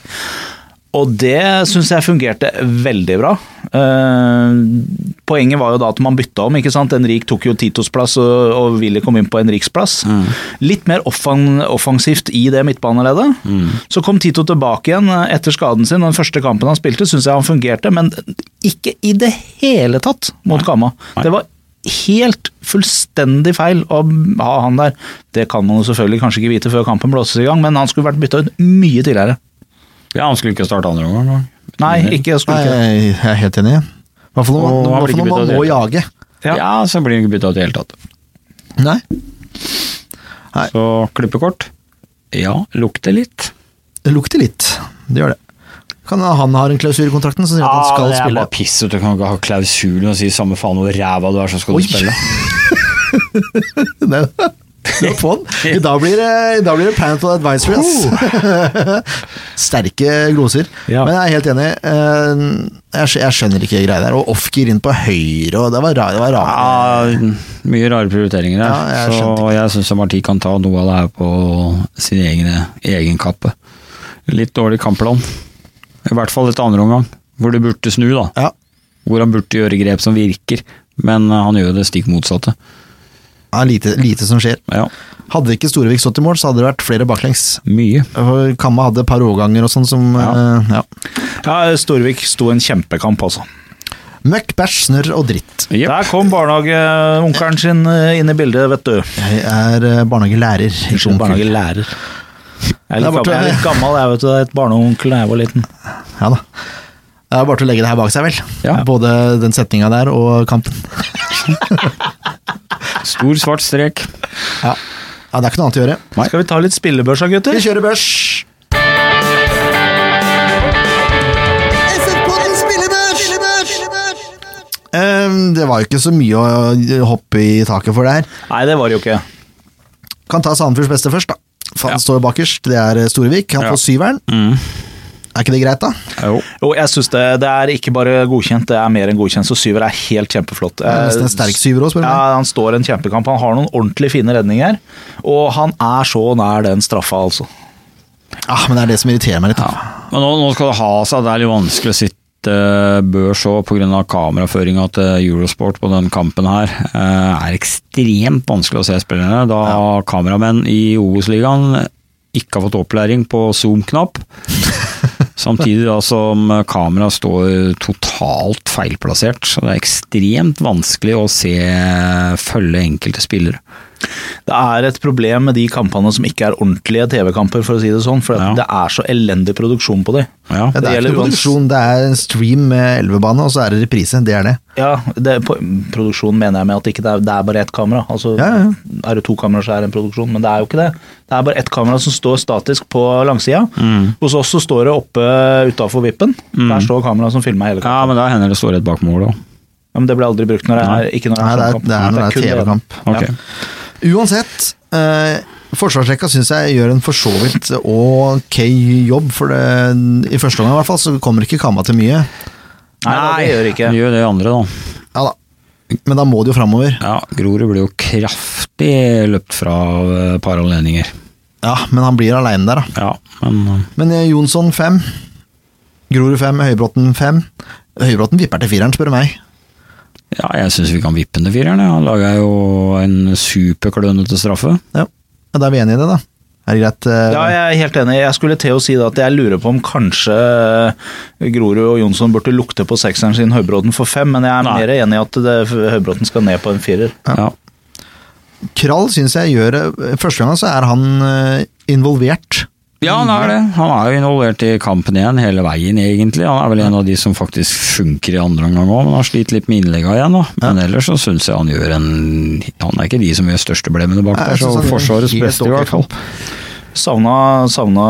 [SPEAKER 3] Og det syns jeg fungerte veldig bra. Eh, Poenget var jo da at man bytta om. ikke sant? Henrik tok jo Titos plass, og, og Willy kom inn på Henriks plass.
[SPEAKER 1] Mm.
[SPEAKER 3] Litt mer offan- offensivt i det midtbaneleddet.
[SPEAKER 1] Mm.
[SPEAKER 3] Så kom Tito tilbake igjen eh, etter skaden sin. og Den første kampen han spilte, syns jeg han fungerte, men ikke i det hele tatt mot Kamma. Det var helt fullstendig feil å ha han der. Det kan man jo selvfølgelig kanskje ikke vite før kampen blåses i gang, men han skulle vært bytta ut mye tidligere.
[SPEAKER 2] Ja, han skulle ikke starte andre omgang. da.
[SPEAKER 3] Nei, ikke skulle
[SPEAKER 1] Nei,
[SPEAKER 3] ikke.
[SPEAKER 1] jeg er helt enig. I hvert fall når
[SPEAKER 2] Og
[SPEAKER 1] man-
[SPEAKER 2] han
[SPEAKER 1] hvert
[SPEAKER 2] blir
[SPEAKER 1] fall
[SPEAKER 2] ikke
[SPEAKER 1] når man
[SPEAKER 2] byttet
[SPEAKER 1] må
[SPEAKER 2] ut.
[SPEAKER 1] jage.
[SPEAKER 3] Ja.
[SPEAKER 2] Ja, så blir han ikke bytta ut i det hele tatt.
[SPEAKER 1] Nei. Nei.
[SPEAKER 2] Så klippekort. Ja, lukter litt.
[SPEAKER 1] Det lukter litt. Det gjør det. Kan han har en klausul i kontrakten som sier at han skal spille.
[SPEAKER 2] bare piss, vet du Du kan ikke ha klausulen og si samme faen hvor ræva du er, så skal
[SPEAKER 1] Oi.
[SPEAKER 2] du spille.
[SPEAKER 1] Det det var på'n. I dag blir det, i dag blir det Parental Advisory, ass.
[SPEAKER 2] Oh.
[SPEAKER 1] Sterke gloser.
[SPEAKER 3] Ja.
[SPEAKER 1] Men jeg er helt enig. eh, Jeg, skj- jeg skjønner ikke greia der. Og offgear inn på høyre, og det var rart. Det var rart.
[SPEAKER 2] Ja, mye rare prioriteringer her,
[SPEAKER 1] Ja, jeg skjønte
[SPEAKER 2] så jeg syns Marti kan ta noe av det her på sin egne, egen kappe. Litt dårlig kampplan. I hvert fall etter andre omgang, hvor du burde snu, da.
[SPEAKER 1] Ja.
[SPEAKER 2] Hvor han burde gjøre grep som virker, men eh, han gjør jo det stikk motsatte.
[SPEAKER 1] Ja, lite, lite som skjer.
[SPEAKER 2] Ja,
[SPEAKER 1] Hadde ikke Storevik stått i mål, så hadde det vært flere baklengs.
[SPEAKER 2] mye.
[SPEAKER 1] For Kamma hadde et par overganger og sånn som
[SPEAKER 2] Ja.
[SPEAKER 1] eh, ja.
[SPEAKER 3] Ja, Storvik sto en kjempekamp, altså.
[SPEAKER 1] Møkk, bæsj, snørr og dritt.
[SPEAKER 2] Jepp.
[SPEAKER 3] Der kom barnehageonkelen sin eh, inn i bildet, vet du.
[SPEAKER 1] Jeg er eh, barnehagelærer. ikke onkel.
[SPEAKER 3] Barnehagelærer. Jeg
[SPEAKER 1] sånn
[SPEAKER 3] er
[SPEAKER 1] Der
[SPEAKER 3] litt
[SPEAKER 1] borte.
[SPEAKER 3] gammel, jeg, er litt gammel, jeg vet du. Jeg er et barneonkel da jeg var liten.
[SPEAKER 1] Ja da. Det er bare til å legge det her bak seg, vel.
[SPEAKER 2] Ja.
[SPEAKER 1] Både den setninga der og kampen.
[SPEAKER 2] Stor svart strek.
[SPEAKER 1] Ja. ja, det er ikke noe annet å gjøre.
[SPEAKER 2] Nei.
[SPEAKER 3] Skal vi ta litt spillebørs da, gutter?
[SPEAKER 1] Vi kjører børs! Ehm, Det var jo ikke så mye å hoppe i taket for der.
[SPEAKER 3] Nei, det var det jo ikke.
[SPEAKER 1] Kan ta Sandefjords beste først, da. For han
[SPEAKER 2] Ja.
[SPEAKER 1] står bakerst, det er eh, Storevik. Han
[SPEAKER 2] Ja.
[SPEAKER 1] får syveren.
[SPEAKER 2] Mm.
[SPEAKER 1] Er ikke det greit, da?
[SPEAKER 2] Jo.
[SPEAKER 3] Jo, jeg synes det, det er ikke bare godkjent, det er mer enn godkjent. Så syver er helt kjempeflott. Eh,
[SPEAKER 1] Det er nesten en sterk syver òg, spør du meg.
[SPEAKER 3] Ja, han står en kjempekamp. Han har noen ordentlig fine redninger, og han er så nær den straffa, altså.
[SPEAKER 1] Ah, men det er det som irriterer meg litt. da.
[SPEAKER 2] Men nå, nå skal det ha seg, det er litt vanskelig å sitte eh, børs òg pga. kameraføringa til eh, Eurosport på den kampen her. Eh, er ekstremt vanskelig å se spillerne, da kameramenn i Obos-ligaen ikke har fått opplæring på zoom-knapp. Samtidig da som kamera står totalt feilplassert, så det er ekstremt vanskelig å se eh, følge enkelte spillere.
[SPEAKER 3] Det er et problem med de kampene som ikke er ordentlige TV-kamper, for å si det sånn, for
[SPEAKER 2] Ja.
[SPEAKER 3] det er så elendig produksjon på de.
[SPEAKER 1] Ja,
[SPEAKER 2] Ja.
[SPEAKER 1] det,
[SPEAKER 3] Det
[SPEAKER 1] er
[SPEAKER 3] gjelder
[SPEAKER 1] ikke noe
[SPEAKER 3] uans-
[SPEAKER 1] produksjon, det er en stream med elvebane, og så er det reprise. Det er det.
[SPEAKER 3] Ja, det, på, produksjonen mener jeg med at det ikke det er, det er bare ett kamera. Altså,
[SPEAKER 1] Ja, ja.
[SPEAKER 3] Er det to kameraer, så er det en produksjon, men det er jo ikke det. Det er bare ett kamera som står statisk på langsida.
[SPEAKER 1] Mm.
[SPEAKER 3] Hos oss så står det oppe utafor vippen. Der står kameraet som filmer hele kampen.
[SPEAKER 2] ja, men da hender det står rett bak mål òg.
[SPEAKER 3] Ja, men det ble aldri brukt når det er ikke når det
[SPEAKER 1] Nei,
[SPEAKER 3] er
[SPEAKER 1] det er,
[SPEAKER 3] sånn kamp.
[SPEAKER 1] det er når det er
[SPEAKER 3] kun
[SPEAKER 1] TV-kamp.
[SPEAKER 2] Ok.
[SPEAKER 3] Ja.
[SPEAKER 1] Uansett, eh, forsvarsrekka syns jeg gjør en for så vidt ok jobb, for det, i første omgang i hvert fall, så kommer ikke Kamma til mye.
[SPEAKER 3] Nei, det gjør ikke.
[SPEAKER 2] Gjør det andre, da.
[SPEAKER 1] Ja da, men da må det jo framover.
[SPEAKER 2] Ja, Grorud ble jo kraftig løpt fra av et par anledninger.
[SPEAKER 1] Ja, men han blir aleine der, da.
[SPEAKER 2] Ja, men eh,
[SPEAKER 1] Men eh, Jonsson fem. Grorud fem, Høybråten fem. Høybråten vipper til fireren, spør du meg.
[SPEAKER 2] ja, jeg syns vi kan vippe den til fireren. ja. Han laga jo en superklønete straffe.
[SPEAKER 1] Ja, ja, Da er vi enige i det, da. Er det greit? eh,
[SPEAKER 3] Ja, jeg er helt enig. Jeg skulle til å si det at jeg lurer på om kanskje eh, Grorud og Jonsson burde lukte på sekseren sin Høybråten for fem, men jeg er
[SPEAKER 2] Nei.
[SPEAKER 3] mer enig i at det- Høybråten skal ned på en firer.
[SPEAKER 2] Ja.
[SPEAKER 1] Krall syns jeg gjør det Første gangen så er han eh, involvert.
[SPEAKER 2] Ja, han er det. Han er jo involvert i kampen igjen hele veien, egentlig. Han er vel en av de som faktisk funker i andre omgang òg, men har slitt litt med innlegga igjen. Da. Men ellers så syns jeg han gjør en Han er ikke de som gjør største blemmene bak
[SPEAKER 1] Nei,
[SPEAKER 2] der,
[SPEAKER 1] jeg
[SPEAKER 2] så
[SPEAKER 1] synes han gjør en
[SPEAKER 2] Forsvarets
[SPEAKER 1] helt
[SPEAKER 2] beste, i
[SPEAKER 1] ok
[SPEAKER 2] hvert fall.
[SPEAKER 3] Savna, savna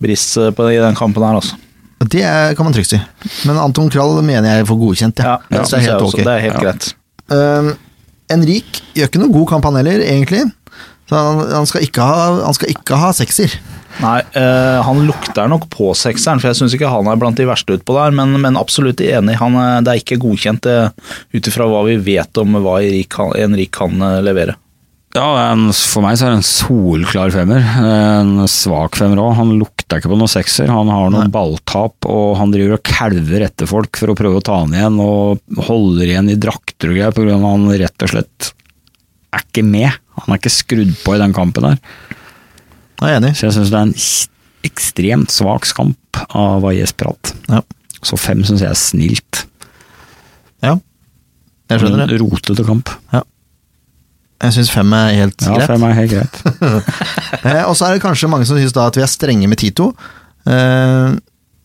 [SPEAKER 3] Briss eh, på, i den kampen her, altså.
[SPEAKER 1] Og Det er- kan man trygt si. Men Anton Krall mener jeg får godkjent,
[SPEAKER 3] Ja,
[SPEAKER 1] ja.
[SPEAKER 3] det
[SPEAKER 1] så det er
[SPEAKER 3] synes jeg
[SPEAKER 1] helt
[SPEAKER 3] også.
[SPEAKER 1] ok.
[SPEAKER 3] Det er helt
[SPEAKER 2] Ja.
[SPEAKER 3] greit.
[SPEAKER 1] Um, Enrik gjør ikke noen god kamp, han heller, egentlig. Så han, han, skal ikke ha, han skal ikke ha sekser.
[SPEAKER 3] Nei, eh, han lukter nok på sekseren, for jeg syns ikke han er blant de verste utpå der, men, men absolutt enig. Han, er- det er ikke godkjent eh, ut ifra hva vi vet om hva Erik kan, Henrik kan eh, levere.
[SPEAKER 2] Ja, det er en, For meg så er det en solklar femmer. En svak femmer òg. Han lukter ikke på noen sekser. Han har noen balltap, og han driver og kalver etter folk for å prøve å ta han igjen, og holder igjen i drakter og greier, på grunn av at han rett og slett er ikke med. Han er ikke skrudd på i den kampen her.
[SPEAKER 1] Jeg er enig.
[SPEAKER 2] Så jeg syns det er en s- ekstremt svak skamp av Valles Prat.
[SPEAKER 1] Ja.
[SPEAKER 2] Så fem syns jeg er snilt.
[SPEAKER 1] ja. Jeg skjønner det.
[SPEAKER 2] En Rotete kamp.
[SPEAKER 1] Jeg syns fem er helt
[SPEAKER 2] Mm. Ja,
[SPEAKER 1] greit.
[SPEAKER 2] fem er helt greit.
[SPEAKER 1] Eh, og så er det kanskje mange som syns da at vi er strenge med Tito. Eh,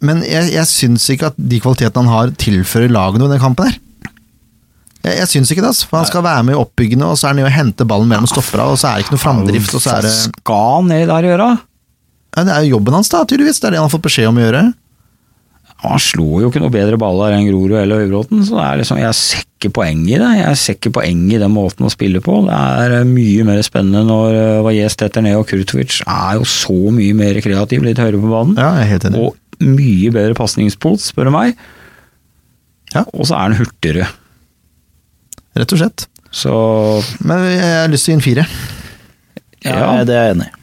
[SPEAKER 1] men jeg, jeg syns ikke at de kvalitetene han har, tilfører laget noe i den kampen her. Jeg, jeg syns ikke det, altså. For han skal være med i oppbyggende, og så er han jo å hente ballen mellom stoppera, og så er det ikke noe framdrift, og så er det
[SPEAKER 2] Hva skal han ned der gjøre?
[SPEAKER 1] ja, Det er jo jobben hans, da, tydeligvis. Det er det han har fått beskjed om å gjøre.
[SPEAKER 2] Han slo jo ikke noe bedre baller enn Grorud eller Høybråten, så det er liksom, jeg ser ikke poeng i det. Jeg ser ikke poeng i den måten å spille på. Det er eh, mye mer spennende når eh, Valles detter ned, og Krutovic er jo så mye mer kreativ litt høyere på banen.
[SPEAKER 1] Ja, jeg er helt enig.
[SPEAKER 2] Og mye bedre pasningspot, spør du meg.
[SPEAKER 1] Ja.
[SPEAKER 2] Og så er han hurtigere.
[SPEAKER 1] Rett og slett.
[SPEAKER 2] Så
[SPEAKER 1] Men jeg har lyst til å gi en fire.
[SPEAKER 2] ja,
[SPEAKER 3] Ja, Eh, det er jeg enig i.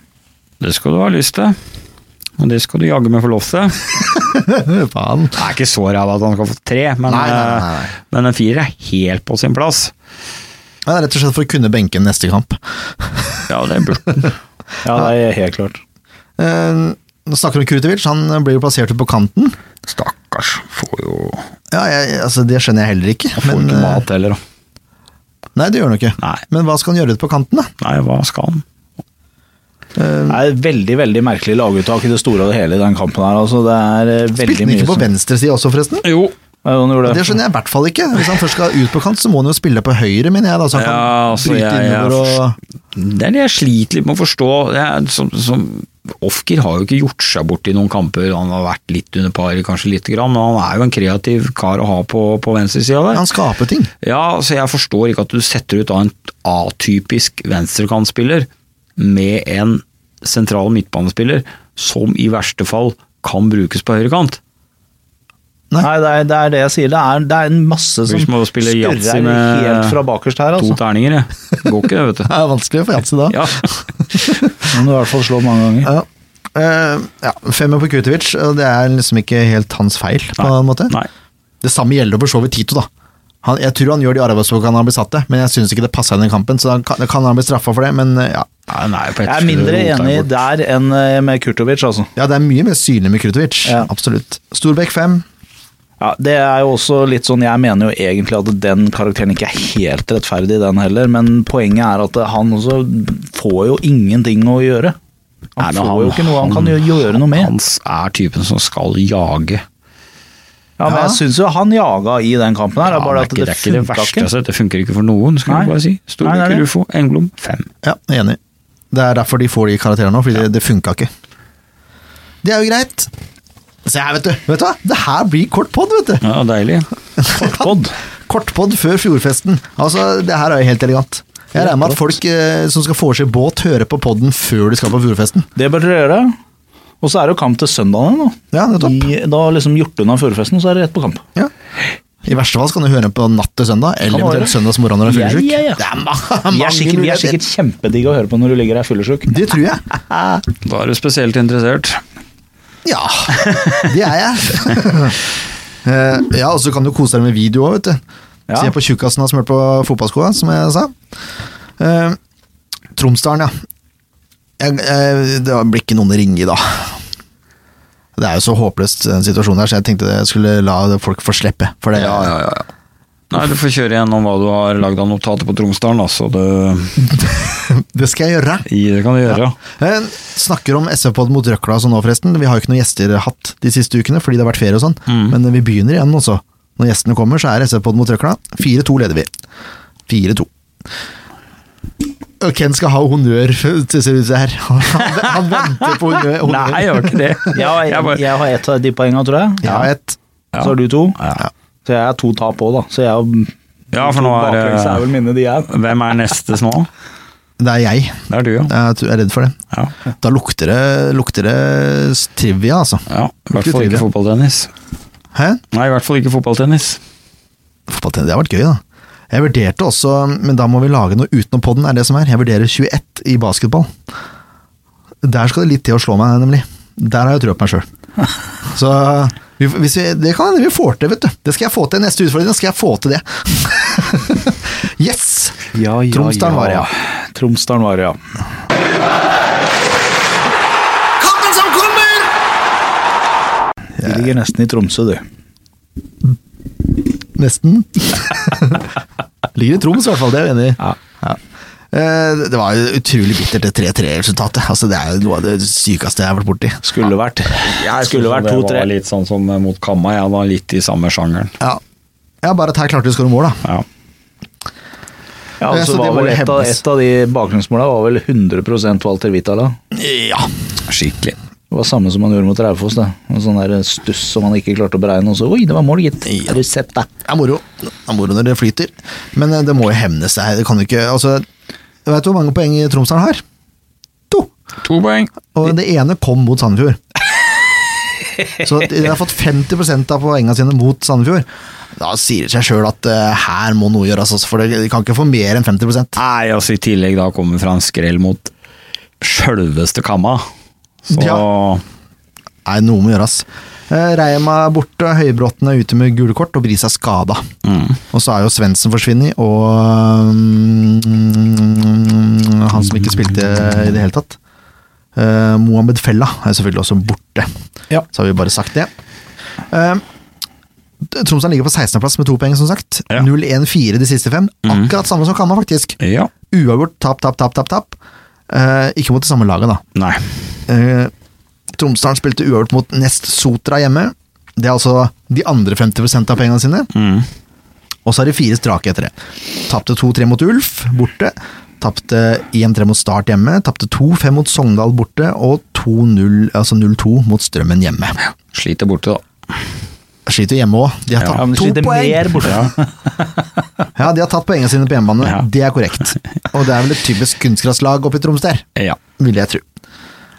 [SPEAKER 2] det skal du ha lyst til. Og det skal du jaggu meg få lov til.
[SPEAKER 1] Faen.
[SPEAKER 2] Det er ikke så ræva at han skal få tre, men,
[SPEAKER 1] Nei, nei, nei, nei.
[SPEAKER 2] eh, men en firer er helt på sin plass.
[SPEAKER 1] Ja, det er rett og slett for å kunne benke neste kamp.
[SPEAKER 2] Ja, det burde han.
[SPEAKER 3] Ja, det er helt klart.
[SPEAKER 1] Eh, Nå snakker vi om Krutovic, han blir jo plassert ut på kanten.
[SPEAKER 2] Stakkars. Får jo
[SPEAKER 1] Ja, jeg, altså Det skjønner jeg heller ikke.
[SPEAKER 2] får
[SPEAKER 1] Men, eh,
[SPEAKER 2] ikke mat heller, da.
[SPEAKER 1] nei, det gjør han jo ikke.
[SPEAKER 2] Nei.
[SPEAKER 1] Men hva skal han gjøre ute på kanten, da?
[SPEAKER 2] Nei, hva skal han?
[SPEAKER 1] Eh,
[SPEAKER 3] Det er veldig veldig merkelig laguttak i det store og det hele i den kampen her. altså. Det er eh,
[SPEAKER 1] Spilte
[SPEAKER 3] veldig
[SPEAKER 1] han
[SPEAKER 3] mye
[SPEAKER 1] ikke på
[SPEAKER 3] som-
[SPEAKER 1] venstresida også, forresten?
[SPEAKER 2] Jo.
[SPEAKER 3] Ja, jo, han gjorde
[SPEAKER 1] Det skjønner jeg i hvert fall ikke. Hvis han først skal ut på kant, så må han jo spille på høyre, mener jeg. da, Så han kan
[SPEAKER 2] Ja, altså,
[SPEAKER 1] bryte
[SPEAKER 2] jeg- jeg
[SPEAKER 1] innover og...
[SPEAKER 2] Det er det jeg sliter litt med å forstå. Det er som, som Ofker har jo ikke gjort seg bort i noen kamper. Han har vært litt under par, kanskje lite grann, men han er jo en kreativ kar å ha på, på venstresida der.
[SPEAKER 1] Han skaper ting.
[SPEAKER 2] Ja, så jeg forstår ikke at du setter ut da en atypisk venstrekantspiller med en sentral midtbanespiller som i verste fall kan brukes på høyrekant.
[SPEAKER 3] Nei, det, er, det er det jeg sier. Det er, det er en masse som
[SPEAKER 2] Hvis man spiller yatzy
[SPEAKER 3] skurrer
[SPEAKER 2] med
[SPEAKER 3] helt fra bakerst her.
[SPEAKER 2] To
[SPEAKER 3] altså.
[SPEAKER 2] terninger, jeg. Går ikke det, vet du.
[SPEAKER 1] Det er vanskelig å få jatse da.
[SPEAKER 2] Ja.
[SPEAKER 3] Den må du i hvert fall slå mange ganger.
[SPEAKER 1] Ja. Eh, ja, Femmer på Kutovic, og det er liksom ikke helt hans feil, på
[SPEAKER 2] Nei.
[SPEAKER 1] en måte.
[SPEAKER 2] Nei.
[SPEAKER 1] Det samme gjelder for så vidt Tito, da. Han, jeg tror han gjør de arbeidsoppgavene han blir satt til, men jeg syns ikke det passa inn i kampen, så da kan, da kan han bli straffa for det, men eh, ja.
[SPEAKER 2] Nei, den er jo på ett
[SPEAKER 3] Jeg er mindre
[SPEAKER 2] skudd og roter
[SPEAKER 3] enig
[SPEAKER 2] den bort.
[SPEAKER 3] der enn eh, med Kurtovic, altså.
[SPEAKER 1] ja, det er mye mer synlig med Krutovic.
[SPEAKER 3] Ja.
[SPEAKER 1] Absolutt. Storbekk fem.
[SPEAKER 3] Ja, det er jo også litt sånn, Jeg mener jo egentlig at den karakteren ikke er helt rettferdig, den heller, men poenget er at han også får jo ingenting å gjøre. Han
[SPEAKER 2] Nei, men
[SPEAKER 3] får jo ikke noe han, kan gjø- gjøre noe med.
[SPEAKER 2] Hans er typen som skal jage.
[SPEAKER 3] ja, men
[SPEAKER 1] Ja.
[SPEAKER 3] jeg syns jo han jaga i den kampen her, det
[SPEAKER 2] Ja,
[SPEAKER 3] er bare at
[SPEAKER 2] det, er ikke, det
[SPEAKER 3] det,
[SPEAKER 2] er ikke det
[SPEAKER 3] funka
[SPEAKER 2] verste jeg
[SPEAKER 3] ikke.
[SPEAKER 2] har sett. Det funker ikke for noen, skal
[SPEAKER 3] Nei.
[SPEAKER 2] vi bare si.
[SPEAKER 3] Nei, det
[SPEAKER 2] Storbekk,
[SPEAKER 3] er det.
[SPEAKER 2] Rufo, Engblom, fem.
[SPEAKER 1] Ja, jeg er enig. Det er derfor de får de karakterene nå, fordi det, det funka ikke. Det er jo greit. Se her, vet du. Vet du hva? Det her blir kort pod, vet du.
[SPEAKER 2] Ja, deilig.
[SPEAKER 3] Kortpod.
[SPEAKER 1] Kortpod før fjordfesten. Altså, det her er jo helt elegant. Jeg regner med at folk eh, som skal få seg båt, hører på podden før de skal på fjordfesten.
[SPEAKER 3] Det bør dere gjøre. Og så er det jo kamp til søndagen. nå.
[SPEAKER 1] Ja, nettopp.
[SPEAKER 3] I, da har liksom gjort unna førerfesten, og så er det rett på kamp.
[SPEAKER 1] Ja. I verste fall så kan du høre den på natt til søndag, eller
[SPEAKER 3] Kan være.
[SPEAKER 1] eventuelt søndagsmorgen når du er
[SPEAKER 3] Ja,
[SPEAKER 1] fyllesyk.
[SPEAKER 3] ja, ja.
[SPEAKER 1] Det er ma
[SPEAKER 3] Vi
[SPEAKER 1] mange
[SPEAKER 3] er sikkert, vi er
[SPEAKER 1] muligheter.
[SPEAKER 3] sikkert kjempedigg å høre på når du ligger der fyllesyk.
[SPEAKER 1] Det tror jeg.
[SPEAKER 2] Da er du spesielt interessert.
[SPEAKER 1] Ja, det er jeg. Eh, ja, og så kan du kose deg med video òg, vet du.
[SPEAKER 3] Ja.
[SPEAKER 1] Se på tjukkasen har smurt på fotballskoa, som jeg sa. Eh, Tromsdalen, ja. jeg, jeg, Det blir ikke noen å ringe i dag. Det er jo så håpløst, den situasjonen her, så jeg tenkte jeg skulle la folk få slippe. For det,
[SPEAKER 2] Nei, du får kjøre gjennom hva du har lagd av notater på Tromsdalen, da, så det,
[SPEAKER 1] det skal jeg gjøre.
[SPEAKER 2] det kan du gjøre.
[SPEAKER 1] Eh, Snakker om SV-pod mot røkla og sånn nå, forresten. Vi har jo ikke noen gjester hatt de siste ukene fordi det har vært ferie og sånn,
[SPEAKER 2] Mm.
[SPEAKER 1] men vi begynner igjen også. Når gjestene kommer, så er SV-pod mot røkla. 4-2 leder vi. 4-2. Og Ken skal ha honnør, det ser ut til her. Han, han venter på honnør. honnør.
[SPEAKER 2] Nei, jeg gjør ikke det.
[SPEAKER 3] Jeg har,
[SPEAKER 2] Jeg bare-
[SPEAKER 3] jeg har ett av de poengene, tror jeg.
[SPEAKER 1] Ja, et.
[SPEAKER 2] Ja.
[SPEAKER 3] Så har du to.
[SPEAKER 2] Ja.
[SPEAKER 3] Så jeg er to tap òg, da. Så jeg har
[SPEAKER 2] Ja, for nå er det-
[SPEAKER 3] Baklengs er vel mine, de er.
[SPEAKER 2] Hvem er nestes nå?
[SPEAKER 1] Det er jeg.
[SPEAKER 2] Det er du, ja.
[SPEAKER 1] Jeg tror- jeg er redd for det.
[SPEAKER 2] ja.
[SPEAKER 1] Da lukter det, lukter det trivia, altså.
[SPEAKER 2] ja. I hvert fall ikke fotballtennis.
[SPEAKER 1] Hæ?
[SPEAKER 2] Nei, i hvert fall ikke fotballtennis.
[SPEAKER 1] Fotballtrening, det har vært gøy, da. Jeg vurderte også, men da må vi lage noe utenom podden, er det som er. Jeg vurderer 21 i basketball. Der skal det litt til å slå meg, nemlig. Der har jeg trua på meg sjøl. Så vi, hvis vi, det kan hende vi får til, vet du. Det skal jeg få til. Neste utfordring skal jeg få til det. yes!
[SPEAKER 3] Ja, ja,
[SPEAKER 1] Tromsdalen var det, ja.
[SPEAKER 3] Tromsdalen var det, ja.
[SPEAKER 4] Kampen som kommer!
[SPEAKER 3] De ligger nesten i Tromsø, du.
[SPEAKER 1] Nesten. Ligger i Troms, i hvert fall. Det er jeg enig i.
[SPEAKER 3] Ja.
[SPEAKER 1] Ja. Eh, Det var jo utrolig bittert, det 3-3-resultatet. Altså, det er jo noe av det sykeste jeg har vært borti.
[SPEAKER 3] Skulle vært Skulle vært
[SPEAKER 2] Det
[SPEAKER 3] 2-3.
[SPEAKER 2] var litt sånn som mot Kamma, jeg var litt i samme sjangeren.
[SPEAKER 1] Ja. ja, bare at her klarte vi å skåre mål, da.
[SPEAKER 2] Ja.
[SPEAKER 3] Ja,
[SPEAKER 1] Ja,
[SPEAKER 3] og så
[SPEAKER 1] så det
[SPEAKER 3] var
[SPEAKER 1] må
[SPEAKER 3] vel
[SPEAKER 1] jo
[SPEAKER 3] et av,
[SPEAKER 1] hevnes.
[SPEAKER 3] et av de bakgrunnsmåla var vel 100 Walter Vitala.
[SPEAKER 1] Ja.
[SPEAKER 2] Skikkelig.
[SPEAKER 3] Det var samme som han gjorde mot Raufoss. det. En sånn der stuss som han ikke klarte å beregne. Og så, Oi, det var mål, gitt!
[SPEAKER 1] Ja.
[SPEAKER 3] Har du sett det?
[SPEAKER 1] Det er moro. Det er moro når det flyter. Men eh, det må jo hevnes det her. Det kan jo ikke Altså, vet du hvor mange poeng Tromsdalen har? To.
[SPEAKER 2] To poeng.
[SPEAKER 1] Og det ene kom mot Sandefjord. Så de har fått 50 av poengene sine mot Sandefjord. Da sier det seg sjøl at eh, her må noe gjøres, altså, for de kan ikke få mer enn 50
[SPEAKER 2] Nei, altså i tillegg da kommer fra en skrell mot sjølveste Kamma. Så
[SPEAKER 1] Ja. Nei, noe må gjøres. Eh, Reima er borte, Høybråten er ute med gule kort, og Bris er skada. Og så er jo Svendsen forsvunnet, og mm, han som ikke spilte i det hele tatt. Eh, Mohamed Fella er selvfølgelig også borte.
[SPEAKER 3] Ja.
[SPEAKER 1] Så har vi bare sagt det. Eh, Tromsdalen ligger på 16.-plass med to poeng, som sagt.
[SPEAKER 2] Ja.
[SPEAKER 1] 0-1-4 de siste fem. Akkurat samme som Kamma, faktisk.
[SPEAKER 2] ja.
[SPEAKER 1] Uavgjort, tap, tap, tap, tap. tap. Eh, ikke mot det samme laget, da.
[SPEAKER 2] Nei.
[SPEAKER 1] Eh, Tromsdalen spilte uavgjort mot Nest Sotra hjemme. Det er altså de andre 50 av pengene sine.
[SPEAKER 2] Mm.
[SPEAKER 1] Og så er det fire strake etter det. Tapte 2-3 mot Ulf borte. Tapte 1-3 mot Start hjemme. Tapte 2-5 mot Sogndal borte. Og 2-0, altså 0-2 mot Strømmen hjemme.
[SPEAKER 2] Sliter borte, da.
[SPEAKER 1] Sliter hjemme òg. De har
[SPEAKER 2] Ja,
[SPEAKER 1] tatt
[SPEAKER 3] Ja, men
[SPEAKER 1] to
[SPEAKER 3] sliter
[SPEAKER 1] poeng!
[SPEAKER 3] mer borte.
[SPEAKER 1] Ja, de har tatt poengene sine på hjemmebane.
[SPEAKER 2] Ja.
[SPEAKER 1] Det er korrekt. Og det er vel et typisk kunstgraslag oppe i Troms der,
[SPEAKER 2] Ja.
[SPEAKER 1] vil jeg tro.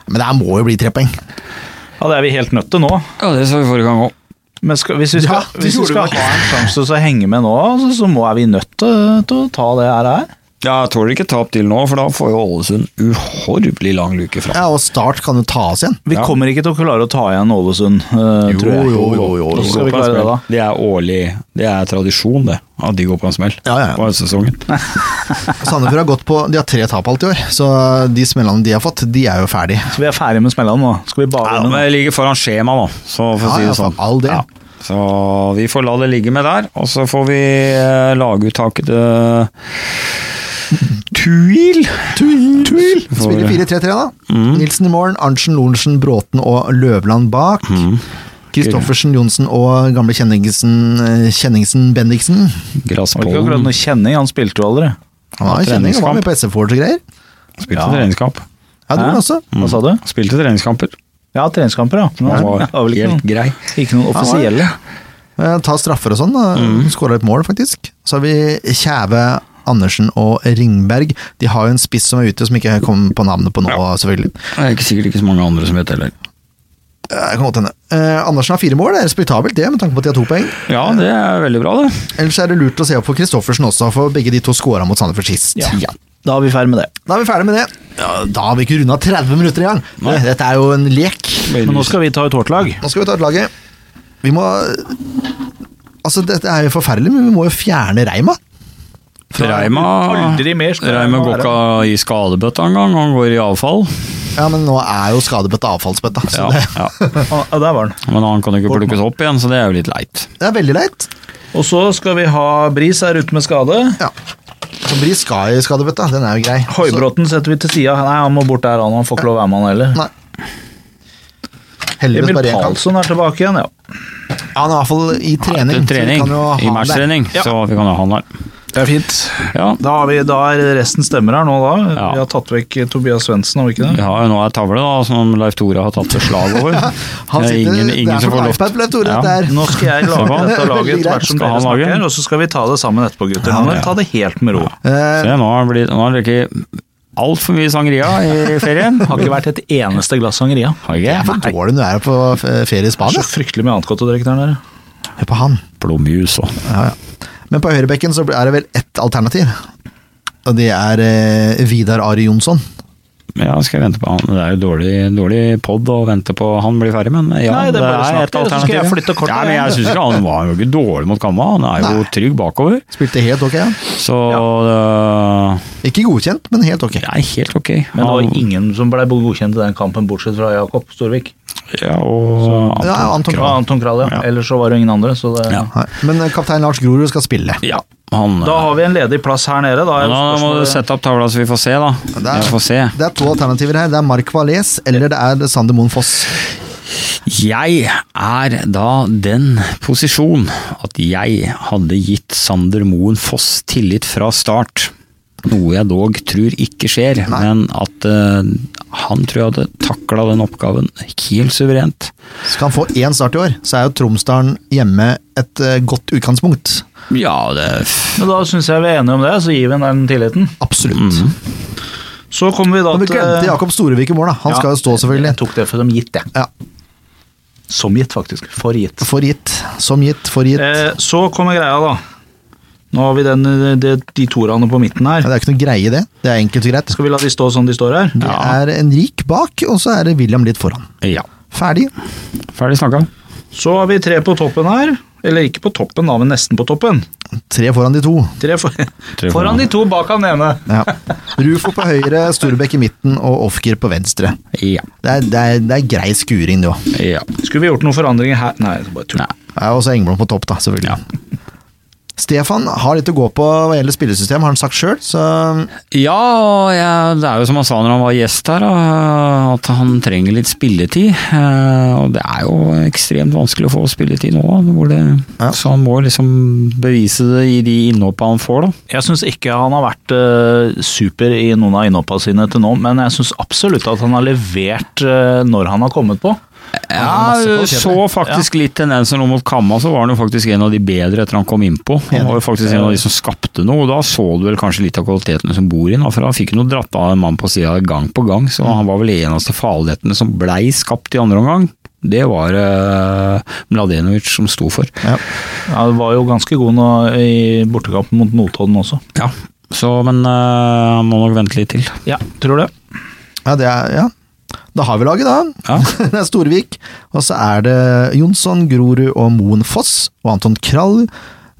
[SPEAKER 1] Men det her må jo bli tre poeng.
[SPEAKER 3] Ja, det er vi helt nødt til nå.
[SPEAKER 2] ja, det så vi forrige gang òg.
[SPEAKER 3] Men skal, hvis vi skal,
[SPEAKER 1] Ja, det
[SPEAKER 3] hvis vi
[SPEAKER 1] gjorde
[SPEAKER 3] skal
[SPEAKER 1] vi.
[SPEAKER 3] ha en sjanse til å henge med nå, altså, så, så må, er vi nødt til, til å ta det her. her.
[SPEAKER 2] Ja, jeg tåler ikke tap til nå, for da får jo Ålesund uhorvelig lang luke fra.
[SPEAKER 1] Ja, Og Start kan jo ta oss igjen.
[SPEAKER 3] Vi
[SPEAKER 2] Ja.
[SPEAKER 3] kommer ikke til å klare å ta igjen Ålesund, eh, tror jeg.
[SPEAKER 1] jo, jo, jo,
[SPEAKER 3] Hvordan skal vi klare det, da?
[SPEAKER 2] Det er årlig Det er tradisjon, det. At de går på en smell
[SPEAKER 1] Ja, ja, ja.
[SPEAKER 2] på høstsesongen.
[SPEAKER 1] Sandefjord har gått på De har tre tap alt i år, så de smellene de har fått, de er jo ferdig.
[SPEAKER 3] Så vi er ferdig med smellene nå. Skal vi
[SPEAKER 2] Ja,
[SPEAKER 3] bare gjennom?
[SPEAKER 2] men jeg ligger foran skjema, da. Så for å
[SPEAKER 1] Ja,
[SPEAKER 2] si
[SPEAKER 1] ja,
[SPEAKER 2] det sånn.
[SPEAKER 1] for all del.
[SPEAKER 2] Så vi får la det ligge med der, og så får vi eh, lage ut taket til Tuil.
[SPEAKER 1] Tuil!
[SPEAKER 2] Får
[SPEAKER 1] Spiller
[SPEAKER 2] vi-
[SPEAKER 1] 4-3-3, da. Mm. Nilsen i morgen, Arntzen, Lorentzen, Bråten og Løvland bak. Kristoffersen, Johnsen og gamle Kjenningsen, eh, Kjenningsen Bendiksen.
[SPEAKER 3] Det var ikke akkurat
[SPEAKER 2] Glasspollen
[SPEAKER 3] noe kjenning, han spilte jo aldri.
[SPEAKER 1] Han var
[SPEAKER 2] Ja,
[SPEAKER 1] kjenning, han var med
[SPEAKER 2] treningskamp.
[SPEAKER 1] på SF-Forge og greier.
[SPEAKER 2] spilte
[SPEAKER 3] Ja.
[SPEAKER 2] treningskamp.
[SPEAKER 1] Ja, det
[SPEAKER 3] Hæ?
[SPEAKER 1] var han også.
[SPEAKER 3] Hva sa du?
[SPEAKER 2] Spilte treningskamper.
[SPEAKER 3] Ja, treningskamper, ja. Men
[SPEAKER 2] Han var
[SPEAKER 3] det vel ikke
[SPEAKER 2] helt
[SPEAKER 3] noen,
[SPEAKER 2] grei.
[SPEAKER 3] ikke noen
[SPEAKER 1] var-
[SPEAKER 3] offisielle.
[SPEAKER 1] Eh, Ta straffer og sånn, da. Skåra et mål, faktisk. Så har vi Kjæve, Andersen og Ringberg. De har jo en spiss som er ute, som ikke kommer på navnet på nå, selvfølgelig.
[SPEAKER 2] Det er ikke sikkert ikke så mange andre som vet heller.
[SPEAKER 1] Eh, Det kan godt hende. Eh, Andersen har fire mål, det er respektabelt det, med tanke på at de har to poeng.
[SPEAKER 2] Ja, det er veldig bra, det.
[SPEAKER 1] Ellers er det lurt å se opp for Kristoffersen også, for begge de to skåra mot Sandefjord sist.
[SPEAKER 3] Ja. Da er vi ferdig med det.
[SPEAKER 1] Da er vi ferdig med det. Ja, da har vi ikke runda 30 minutter engang! Det- Dette er jo en lek.
[SPEAKER 3] Men nå skal vi ta ut vårt lag.
[SPEAKER 1] Nå skal vi ta ut laget. Vi må Altså, dette er jo forferdelig, men vi må jo fjerne Reima.
[SPEAKER 3] klarer
[SPEAKER 2] Reima,
[SPEAKER 3] aldri mer skal
[SPEAKER 2] Reima går
[SPEAKER 3] det være.
[SPEAKER 2] ikke i skadebøtta engang, han går i avfall.
[SPEAKER 1] Ja, men nå er jo skadebøtta avfallsbøtta, så
[SPEAKER 2] Ja,
[SPEAKER 1] det,
[SPEAKER 2] ja.
[SPEAKER 3] Ah, der var den.
[SPEAKER 2] Men han kan jo ikke plukkes opp igjen, så det er jo litt leit.
[SPEAKER 1] det er veldig leit.
[SPEAKER 3] Og så skal vi ha Bris er ute med skade.
[SPEAKER 1] Ja. Så Bris skal i skadebøtta, den er jo grei. Så-
[SPEAKER 3] Høybråten setter vi til sida. Nei, han må bort der, han. Han får ikke lov å være med, han heller.
[SPEAKER 1] Nei. Heldigvis
[SPEAKER 3] Emil
[SPEAKER 1] bare én kamp.
[SPEAKER 3] Palsson er tilbake igjen, ja.
[SPEAKER 1] Ja, han er i hvert fall i trening. så vi
[SPEAKER 2] trening
[SPEAKER 1] kan jo ha
[SPEAKER 2] I
[SPEAKER 1] han der.
[SPEAKER 2] matchtrening,
[SPEAKER 3] Ja.
[SPEAKER 2] så vi kan ha han der.
[SPEAKER 3] Det er fint.
[SPEAKER 2] Ja.
[SPEAKER 3] Da, har vi, da er resten stemmer her nå, da.
[SPEAKER 2] Ja.
[SPEAKER 3] Vi har tatt vekk Tobias Svendsen, har vi ikke
[SPEAKER 2] Vi
[SPEAKER 3] det?
[SPEAKER 2] har jo nå ei tavle da, som Leif Tore har tatt beslag over.
[SPEAKER 1] Han
[SPEAKER 2] det er
[SPEAKER 1] sitter,
[SPEAKER 2] ingen,
[SPEAKER 1] det
[SPEAKER 2] ingen
[SPEAKER 1] er
[SPEAKER 2] som
[SPEAKER 1] som
[SPEAKER 2] får
[SPEAKER 1] en
[SPEAKER 2] lov
[SPEAKER 1] iPad, Leif Tore,
[SPEAKER 2] Ja.
[SPEAKER 1] dette her.
[SPEAKER 3] Nå skal jeg lage
[SPEAKER 2] Skal han?
[SPEAKER 3] dette laget etter hvert som
[SPEAKER 2] Skal
[SPEAKER 3] dere
[SPEAKER 2] han lage?
[SPEAKER 3] snakker, og så skal vi ta det sammen etterpå, gutter. Nå må vi ta det helt med ro.
[SPEAKER 1] Eh,
[SPEAKER 2] Se, nå har han blitt- nå har han drukket altfor mye sangria i ferien.
[SPEAKER 3] Har ikke vært et eneste glass sangeria.
[SPEAKER 2] Har ikke?
[SPEAKER 1] Hva
[SPEAKER 2] Nei.
[SPEAKER 1] tåler du når du er på eh, ferie i
[SPEAKER 3] Så
[SPEAKER 1] Spania?
[SPEAKER 3] fryktelig mye annet godt å drikke der nede.
[SPEAKER 1] Hør på han.
[SPEAKER 2] Plommejuice og
[SPEAKER 1] Ja, ja. Men på høyrebekken så er det vel ett alternativ. Og det er eh, Vidar Ari Jonsson.
[SPEAKER 2] Ja, skal jeg vente på han. Det er jo dårlig, dårlig pod å vente på han blir ferdig, men ja,
[SPEAKER 3] Nei, det
[SPEAKER 2] det,
[SPEAKER 3] er bare å
[SPEAKER 2] er
[SPEAKER 3] snakke
[SPEAKER 2] et
[SPEAKER 3] til, så skal jeg
[SPEAKER 2] alternativ.
[SPEAKER 3] flytte kortet
[SPEAKER 2] Nei, men
[SPEAKER 3] igjen.
[SPEAKER 2] jeg synes ikke han var jo ikke dårlig mot Kamma, han er jo
[SPEAKER 1] Nei.
[SPEAKER 2] trygg bakover.
[SPEAKER 1] Spilte helt ok, han.
[SPEAKER 2] Så det
[SPEAKER 1] Ikke godkjent, men helt ok.
[SPEAKER 2] det er helt ok.
[SPEAKER 3] Men det
[SPEAKER 2] Han-
[SPEAKER 3] var ingen som ble godkjent i den kampen, bortsett fra Jakob Storvik.
[SPEAKER 2] ja, og Anton
[SPEAKER 1] Ja, Anton
[SPEAKER 2] Krag.
[SPEAKER 3] Ja, Anton Kral, ja.
[SPEAKER 2] Ja.
[SPEAKER 3] Ellers så var det ingen andre. Så det...
[SPEAKER 2] Ja.
[SPEAKER 1] Nei. Men eh, kaptein Lars Grorud skal spille.
[SPEAKER 2] Ja, han
[SPEAKER 3] Da har vi en ledig plass her nede. Da,
[SPEAKER 2] Ja,
[SPEAKER 3] er jo
[SPEAKER 2] Da må du
[SPEAKER 3] spørsmålet-
[SPEAKER 2] sette opp tavla så vi får se, da.
[SPEAKER 1] Det er-
[SPEAKER 2] Jeg får se.
[SPEAKER 1] Det er to alternativer her. Det er Mark Valais eller det er Sander Moen Foss.
[SPEAKER 2] Jeg er da den posisjon at jeg hadde gitt Sander Moen Foss tillit fra start. Noe jeg dog tror ikke skjer, men at eh, han tror jeg hadde takla den oppgaven helt suverent.
[SPEAKER 1] Skal han få én start i år, så er jo Tromsdalen hjemme et eh, godt utgangspunkt.
[SPEAKER 2] Ja, det
[SPEAKER 3] Men da syns jeg vi er enige om det, så gir vi den den tilliten.
[SPEAKER 1] Absolutt.
[SPEAKER 2] Mm.
[SPEAKER 3] Så kommer vi da
[SPEAKER 1] Men vi
[SPEAKER 2] eh,
[SPEAKER 1] glemte Jakob Storevik i mål, da. Han
[SPEAKER 3] Ja.
[SPEAKER 1] skal jo stå, selvfølgelig.
[SPEAKER 3] Jeg tok det for som gitt, jeg.
[SPEAKER 1] Ja.
[SPEAKER 3] Som gitt, faktisk. For gitt.
[SPEAKER 1] For gitt. Som gitt, for gitt.
[SPEAKER 3] Eh, så kommer greia, da. Nå har vi den, de, de toerne på midten
[SPEAKER 1] Ja,
[SPEAKER 3] her.
[SPEAKER 1] Det er ikke noe greie, det. Det er enkelt og greit.
[SPEAKER 3] Skal vi la de stå sånn de står her?
[SPEAKER 1] Det er en rik bak, og så er det William litt foran.
[SPEAKER 2] Ja.
[SPEAKER 1] Ferdig.
[SPEAKER 2] Ferdig snakka.
[SPEAKER 3] Så har vi tre på toppen her. Eller ikke på toppen, da, men nesten på toppen.
[SPEAKER 1] Tre foran de to.
[SPEAKER 3] Tre, for,
[SPEAKER 2] Tre
[SPEAKER 3] foran
[SPEAKER 2] foran.
[SPEAKER 3] de to, bak han ene.
[SPEAKER 1] Ja. Rufo på høyre, Storbekk i midten og Ofker på venstre.
[SPEAKER 2] Ja.
[SPEAKER 1] Det er, det er, det er grei skuring, det òg.
[SPEAKER 2] ja.
[SPEAKER 3] Skulle vi gjort noen forandringer her Nei, det er bare tull.
[SPEAKER 2] Nei.
[SPEAKER 1] Ja, og så Engblom på topp, da, selvfølgelig. Stefan har litt å gå på hva gjelder spillesystem, har han sagt sjøl, så
[SPEAKER 2] Ja, og jeg, det er jo som han sa når han var gjest her, da, at han trenger litt spilletid. Eh, Og det er jo ekstremt vanskelig å få spilletid nå, da, hvor det,
[SPEAKER 1] Ja.
[SPEAKER 2] så han må liksom bevise det i de innhoppa han får. da.
[SPEAKER 3] Jeg syns ikke han har vært eh, super i noen av innhoppa sine til nå, men jeg syns absolutt at han har levert eh, når han har kommet på.
[SPEAKER 1] har masse
[SPEAKER 2] Ja,
[SPEAKER 1] kvaliteter.
[SPEAKER 2] så faktisk litt tendenser nå mot Kamma, så var han jo faktisk en av de bedre etter han kom innpå. Han var jo faktisk en av de som skapte noe, og da så du vel kanskje litt av kvalitetene som bor i ham. For han fikk jo noe dratt av en mann på sida gang på gang, så han var vel eneste farlighetene som blei skapt i andre omgang. Det var eh, Mladenovic som sto for.
[SPEAKER 1] ja.
[SPEAKER 3] Ja, det var jo ganske god nå i bortekampen mot Notodden også.
[SPEAKER 2] Ja, så, men eh, han må nok vente litt til.
[SPEAKER 3] Ja, tror det.
[SPEAKER 1] ja, det er Ja. Da har vi laget, da.
[SPEAKER 2] Ja.
[SPEAKER 1] Det er Storvik. Og så er det Jonsson, Grorud og Moen Foss og Anton Krall.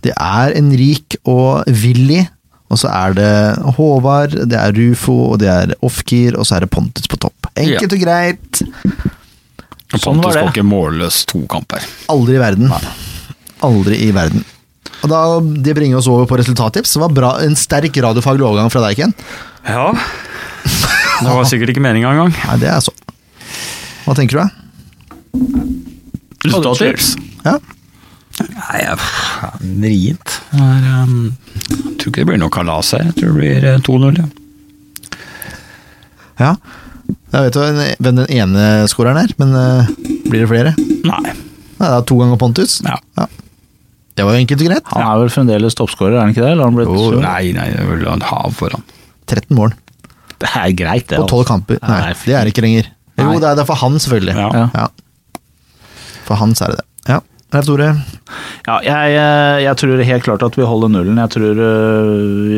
[SPEAKER 1] Det er Enrik og Willy. Og så er det Håvard, det er Rufo, og det er Ofkir, og så er det Pontus på topp. Enkelt og greit.
[SPEAKER 3] Sånn var
[SPEAKER 2] Pontus
[SPEAKER 3] det.
[SPEAKER 2] får ikke målløs to kamper.
[SPEAKER 1] Aldri i verden. Aldri i verden. Og da, Det bringer oss over på resultattips. Det var bra, en sterk radiofaglig overgang fra deg, Ken.
[SPEAKER 2] Ja. Det var sikkert ikke meninga engang.
[SPEAKER 1] Nei, det er så. Hva tenker du, da?
[SPEAKER 2] Resultattips?
[SPEAKER 1] Ja?
[SPEAKER 2] Nei, jeg- vrient. Det er, um, Jeg tror ikke det blir noe kalas her. Jeg tror det blir eh, 2-0. ja.
[SPEAKER 1] ja. Jeg vet jo hvem den ene scoreren er, men eh, blir det flere? Nei,
[SPEAKER 2] Nei.
[SPEAKER 1] det er to ganger Pontus.
[SPEAKER 2] Ja.
[SPEAKER 1] Det var jo enkelt og greit.
[SPEAKER 3] Han er vel fremdeles toppskårer, er han ikke det? Eller har han blitt
[SPEAKER 2] Jo, nei, nei, det vil han ha foran.
[SPEAKER 1] 13 mål
[SPEAKER 3] Det er greit, det. altså.
[SPEAKER 1] på 12 kamper. Nei, det er det ikke lenger. Jo, det er det er for han, selvfølgelig.
[SPEAKER 2] Ja.
[SPEAKER 1] For hans er det det. Ja. Leif Tore.
[SPEAKER 3] Ja, jeg, eh, jeg tror helt klart at vi holder nullen. Jeg tror, eh,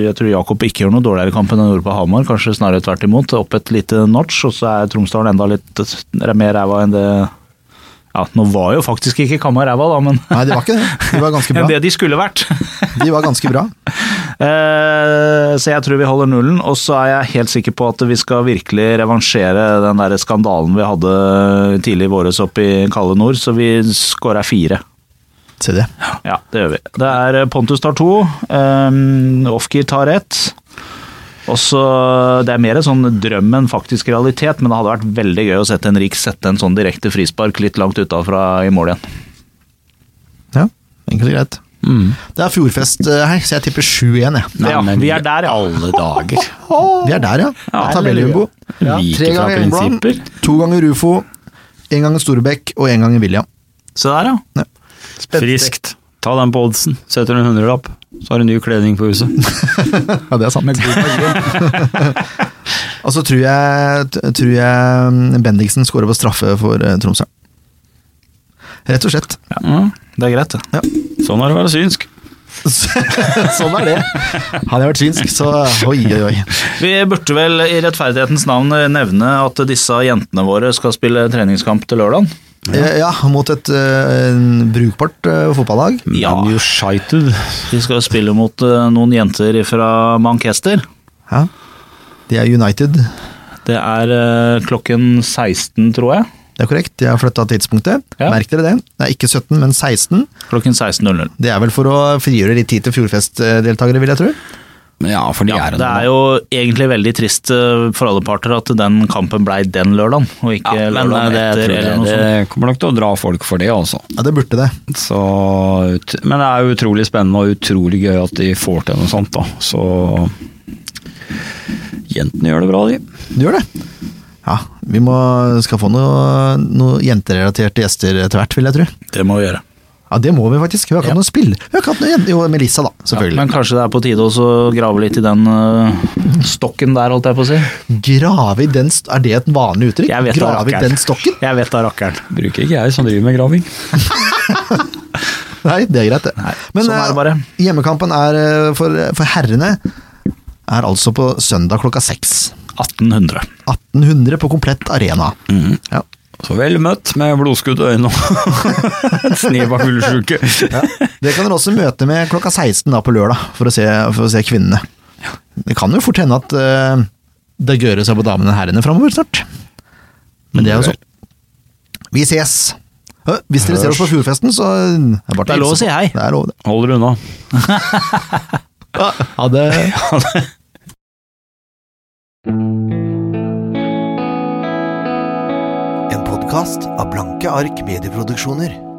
[SPEAKER 3] jeg tror Jakob ikke gjør noe dårligere kamp enn han gjorde på Hamar, kanskje snarere tvert imot. Opp et lite notch, og så er Tromsdalen enda litt eh, mer ræva enn det Ja, nå var jo faktisk ikke Kamma ræva, da, men
[SPEAKER 1] Nei, de var ikke det. De var ganske
[SPEAKER 3] enn
[SPEAKER 1] bra.
[SPEAKER 3] det de skulle vært.
[SPEAKER 1] De var ganske bra.
[SPEAKER 3] Eh, Så jeg tror vi holder nullen, og så er jeg helt sikker på at vi skal virkelig revansjere den der skandalen vi hadde tidlig i våres oppe i kalde nord, så vi skåra fire.
[SPEAKER 1] Se det.
[SPEAKER 3] Ja, det gjør vi. Det er eh, Pontus tar to, um, Ofgir tar ett. Og så, Det er mer en sånn drøm enn faktisk realitet, men det hadde vært veldig gøy å sett Henrik sette en sånn direkte frispark litt langt utafra i mål igjen.
[SPEAKER 1] Ja, enkelt og greit. Det er fjordfest eh, her, så jeg tipper 7-1, jeg.
[SPEAKER 3] Ja, vi er der, ja.
[SPEAKER 2] Alle dager.
[SPEAKER 1] Vi er der, ja. ja Tabelljumbo.
[SPEAKER 2] Ja. Like
[SPEAKER 1] Tre
[SPEAKER 2] fra
[SPEAKER 1] ganger Engblad,
[SPEAKER 2] prinsipper.
[SPEAKER 1] to ganger Ufo, én gang Storbekk og én gang William.
[SPEAKER 3] Se der, ja.
[SPEAKER 2] Friskt. Ta den på oddsen. Setter en hundrelapp, så har du ny kledning på huset.
[SPEAKER 1] Ja, det er sant. og så tror jeg, t- tror jeg mm, Bendiksen scorer på straffe for eh, Tromsø. Rett og slett.
[SPEAKER 2] Ja.
[SPEAKER 3] Det er greit, det.
[SPEAKER 2] Sånn er det å være synsk.
[SPEAKER 1] sånn er det. Hadde jeg vært synsk, så oi, oi, oi.
[SPEAKER 3] Vi burde vel i rettferdighetens navn nevne at disse jentene våre skal spille treningskamp til lørdag.
[SPEAKER 1] Eh, Ja, mot et eh, en brukbart eh, fotballag.
[SPEAKER 3] Ja.
[SPEAKER 2] Man United.
[SPEAKER 3] De skal spille mot eh, noen jenter fra Manchester.
[SPEAKER 1] Ja. De er United,
[SPEAKER 3] Det er eh, klokken 16, tror jeg.
[SPEAKER 1] det er korrekt. De har flytta tidspunktet.
[SPEAKER 3] Ja.
[SPEAKER 1] Merk dere det. Det er ikke 17, men 16.
[SPEAKER 3] Klokken 16.00.
[SPEAKER 1] Det er vel for å frigjøre litt tid til Fjordfest-deltakere, vil jeg tro.
[SPEAKER 2] Ja, for de
[SPEAKER 3] Ja,
[SPEAKER 2] er
[SPEAKER 3] det er jo egentlig veldig trist eh, for alle parter at den kampen blei den lørdagen, og ikke
[SPEAKER 2] ja, men
[SPEAKER 3] lørdagen
[SPEAKER 2] det,
[SPEAKER 3] etter.
[SPEAKER 2] tror
[SPEAKER 3] eller
[SPEAKER 2] jeg,
[SPEAKER 3] noe sånt.
[SPEAKER 2] det kommer nok til å dra folk for det, altså.
[SPEAKER 1] Ja, det burde det.
[SPEAKER 2] Så, ut- men det er jo utrolig spennende og utrolig gøy at de får til noe sånt, da. Så Jentene gjør det bra, de.
[SPEAKER 1] Du gjør det. Ja, vi må, skal få noe- noen jenterelaterte gjester etter hvert, vil jeg tro.
[SPEAKER 3] Det må vi gjøre.
[SPEAKER 1] Ja, det må vi faktisk. Vi har ikke hatt noe spill. Vi har ikke hatt noe jente... Jo, Melissa, da. Selvfølgelig.
[SPEAKER 3] Men kanskje det er på tide også å grave litt i den eh, stokken der, holdt jeg på å si.
[SPEAKER 1] Grave i den st Er det et vanlig uttrykk?
[SPEAKER 3] Jeg vet da
[SPEAKER 1] Grave i
[SPEAKER 3] rakkeren.
[SPEAKER 1] den stokken?
[SPEAKER 3] Jeg vet da rakkeren.
[SPEAKER 2] Bruker ikke jeg som driver med graving.
[SPEAKER 1] Nei, det er greit, det. Men
[SPEAKER 3] sånn er det
[SPEAKER 1] eh,
[SPEAKER 3] bare.
[SPEAKER 1] hjemmekampen er eh, for, for herrene er altså på søndag klokka seks.
[SPEAKER 3] 1800.
[SPEAKER 1] 1800 på komplett arena.
[SPEAKER 3] Mm.
[SPEAKER 1] Ja.
[SPEAKER 2] Så vel møtt med blodskudd i øynene og et snev av fuglesjuke.
[SPEAKER 1] Det kan dere også møte med klokka 16 da på lørdag, for å se, for å se kvinnene. Det kan jo fort hende at eh, det gøres seg på damene og herrene framover snart. Men det er jo sånn. Vi ses! Hø, Hvis dere ser oss på Fjordfesten, så eh, er bare til
[SPEAKER 3] Det er lov å
[SPEAKER 1] hilse
[SPEAKER 3] si
[SPEAKER 1] på.
[SPEAKER 3] hei.
[SPEAKER 1] Det er lov, det.
[SPEAKER 2] Holder unna.
[SPEAKER 1] Ha det. En podkast av Blanke ark medieproduksjoner.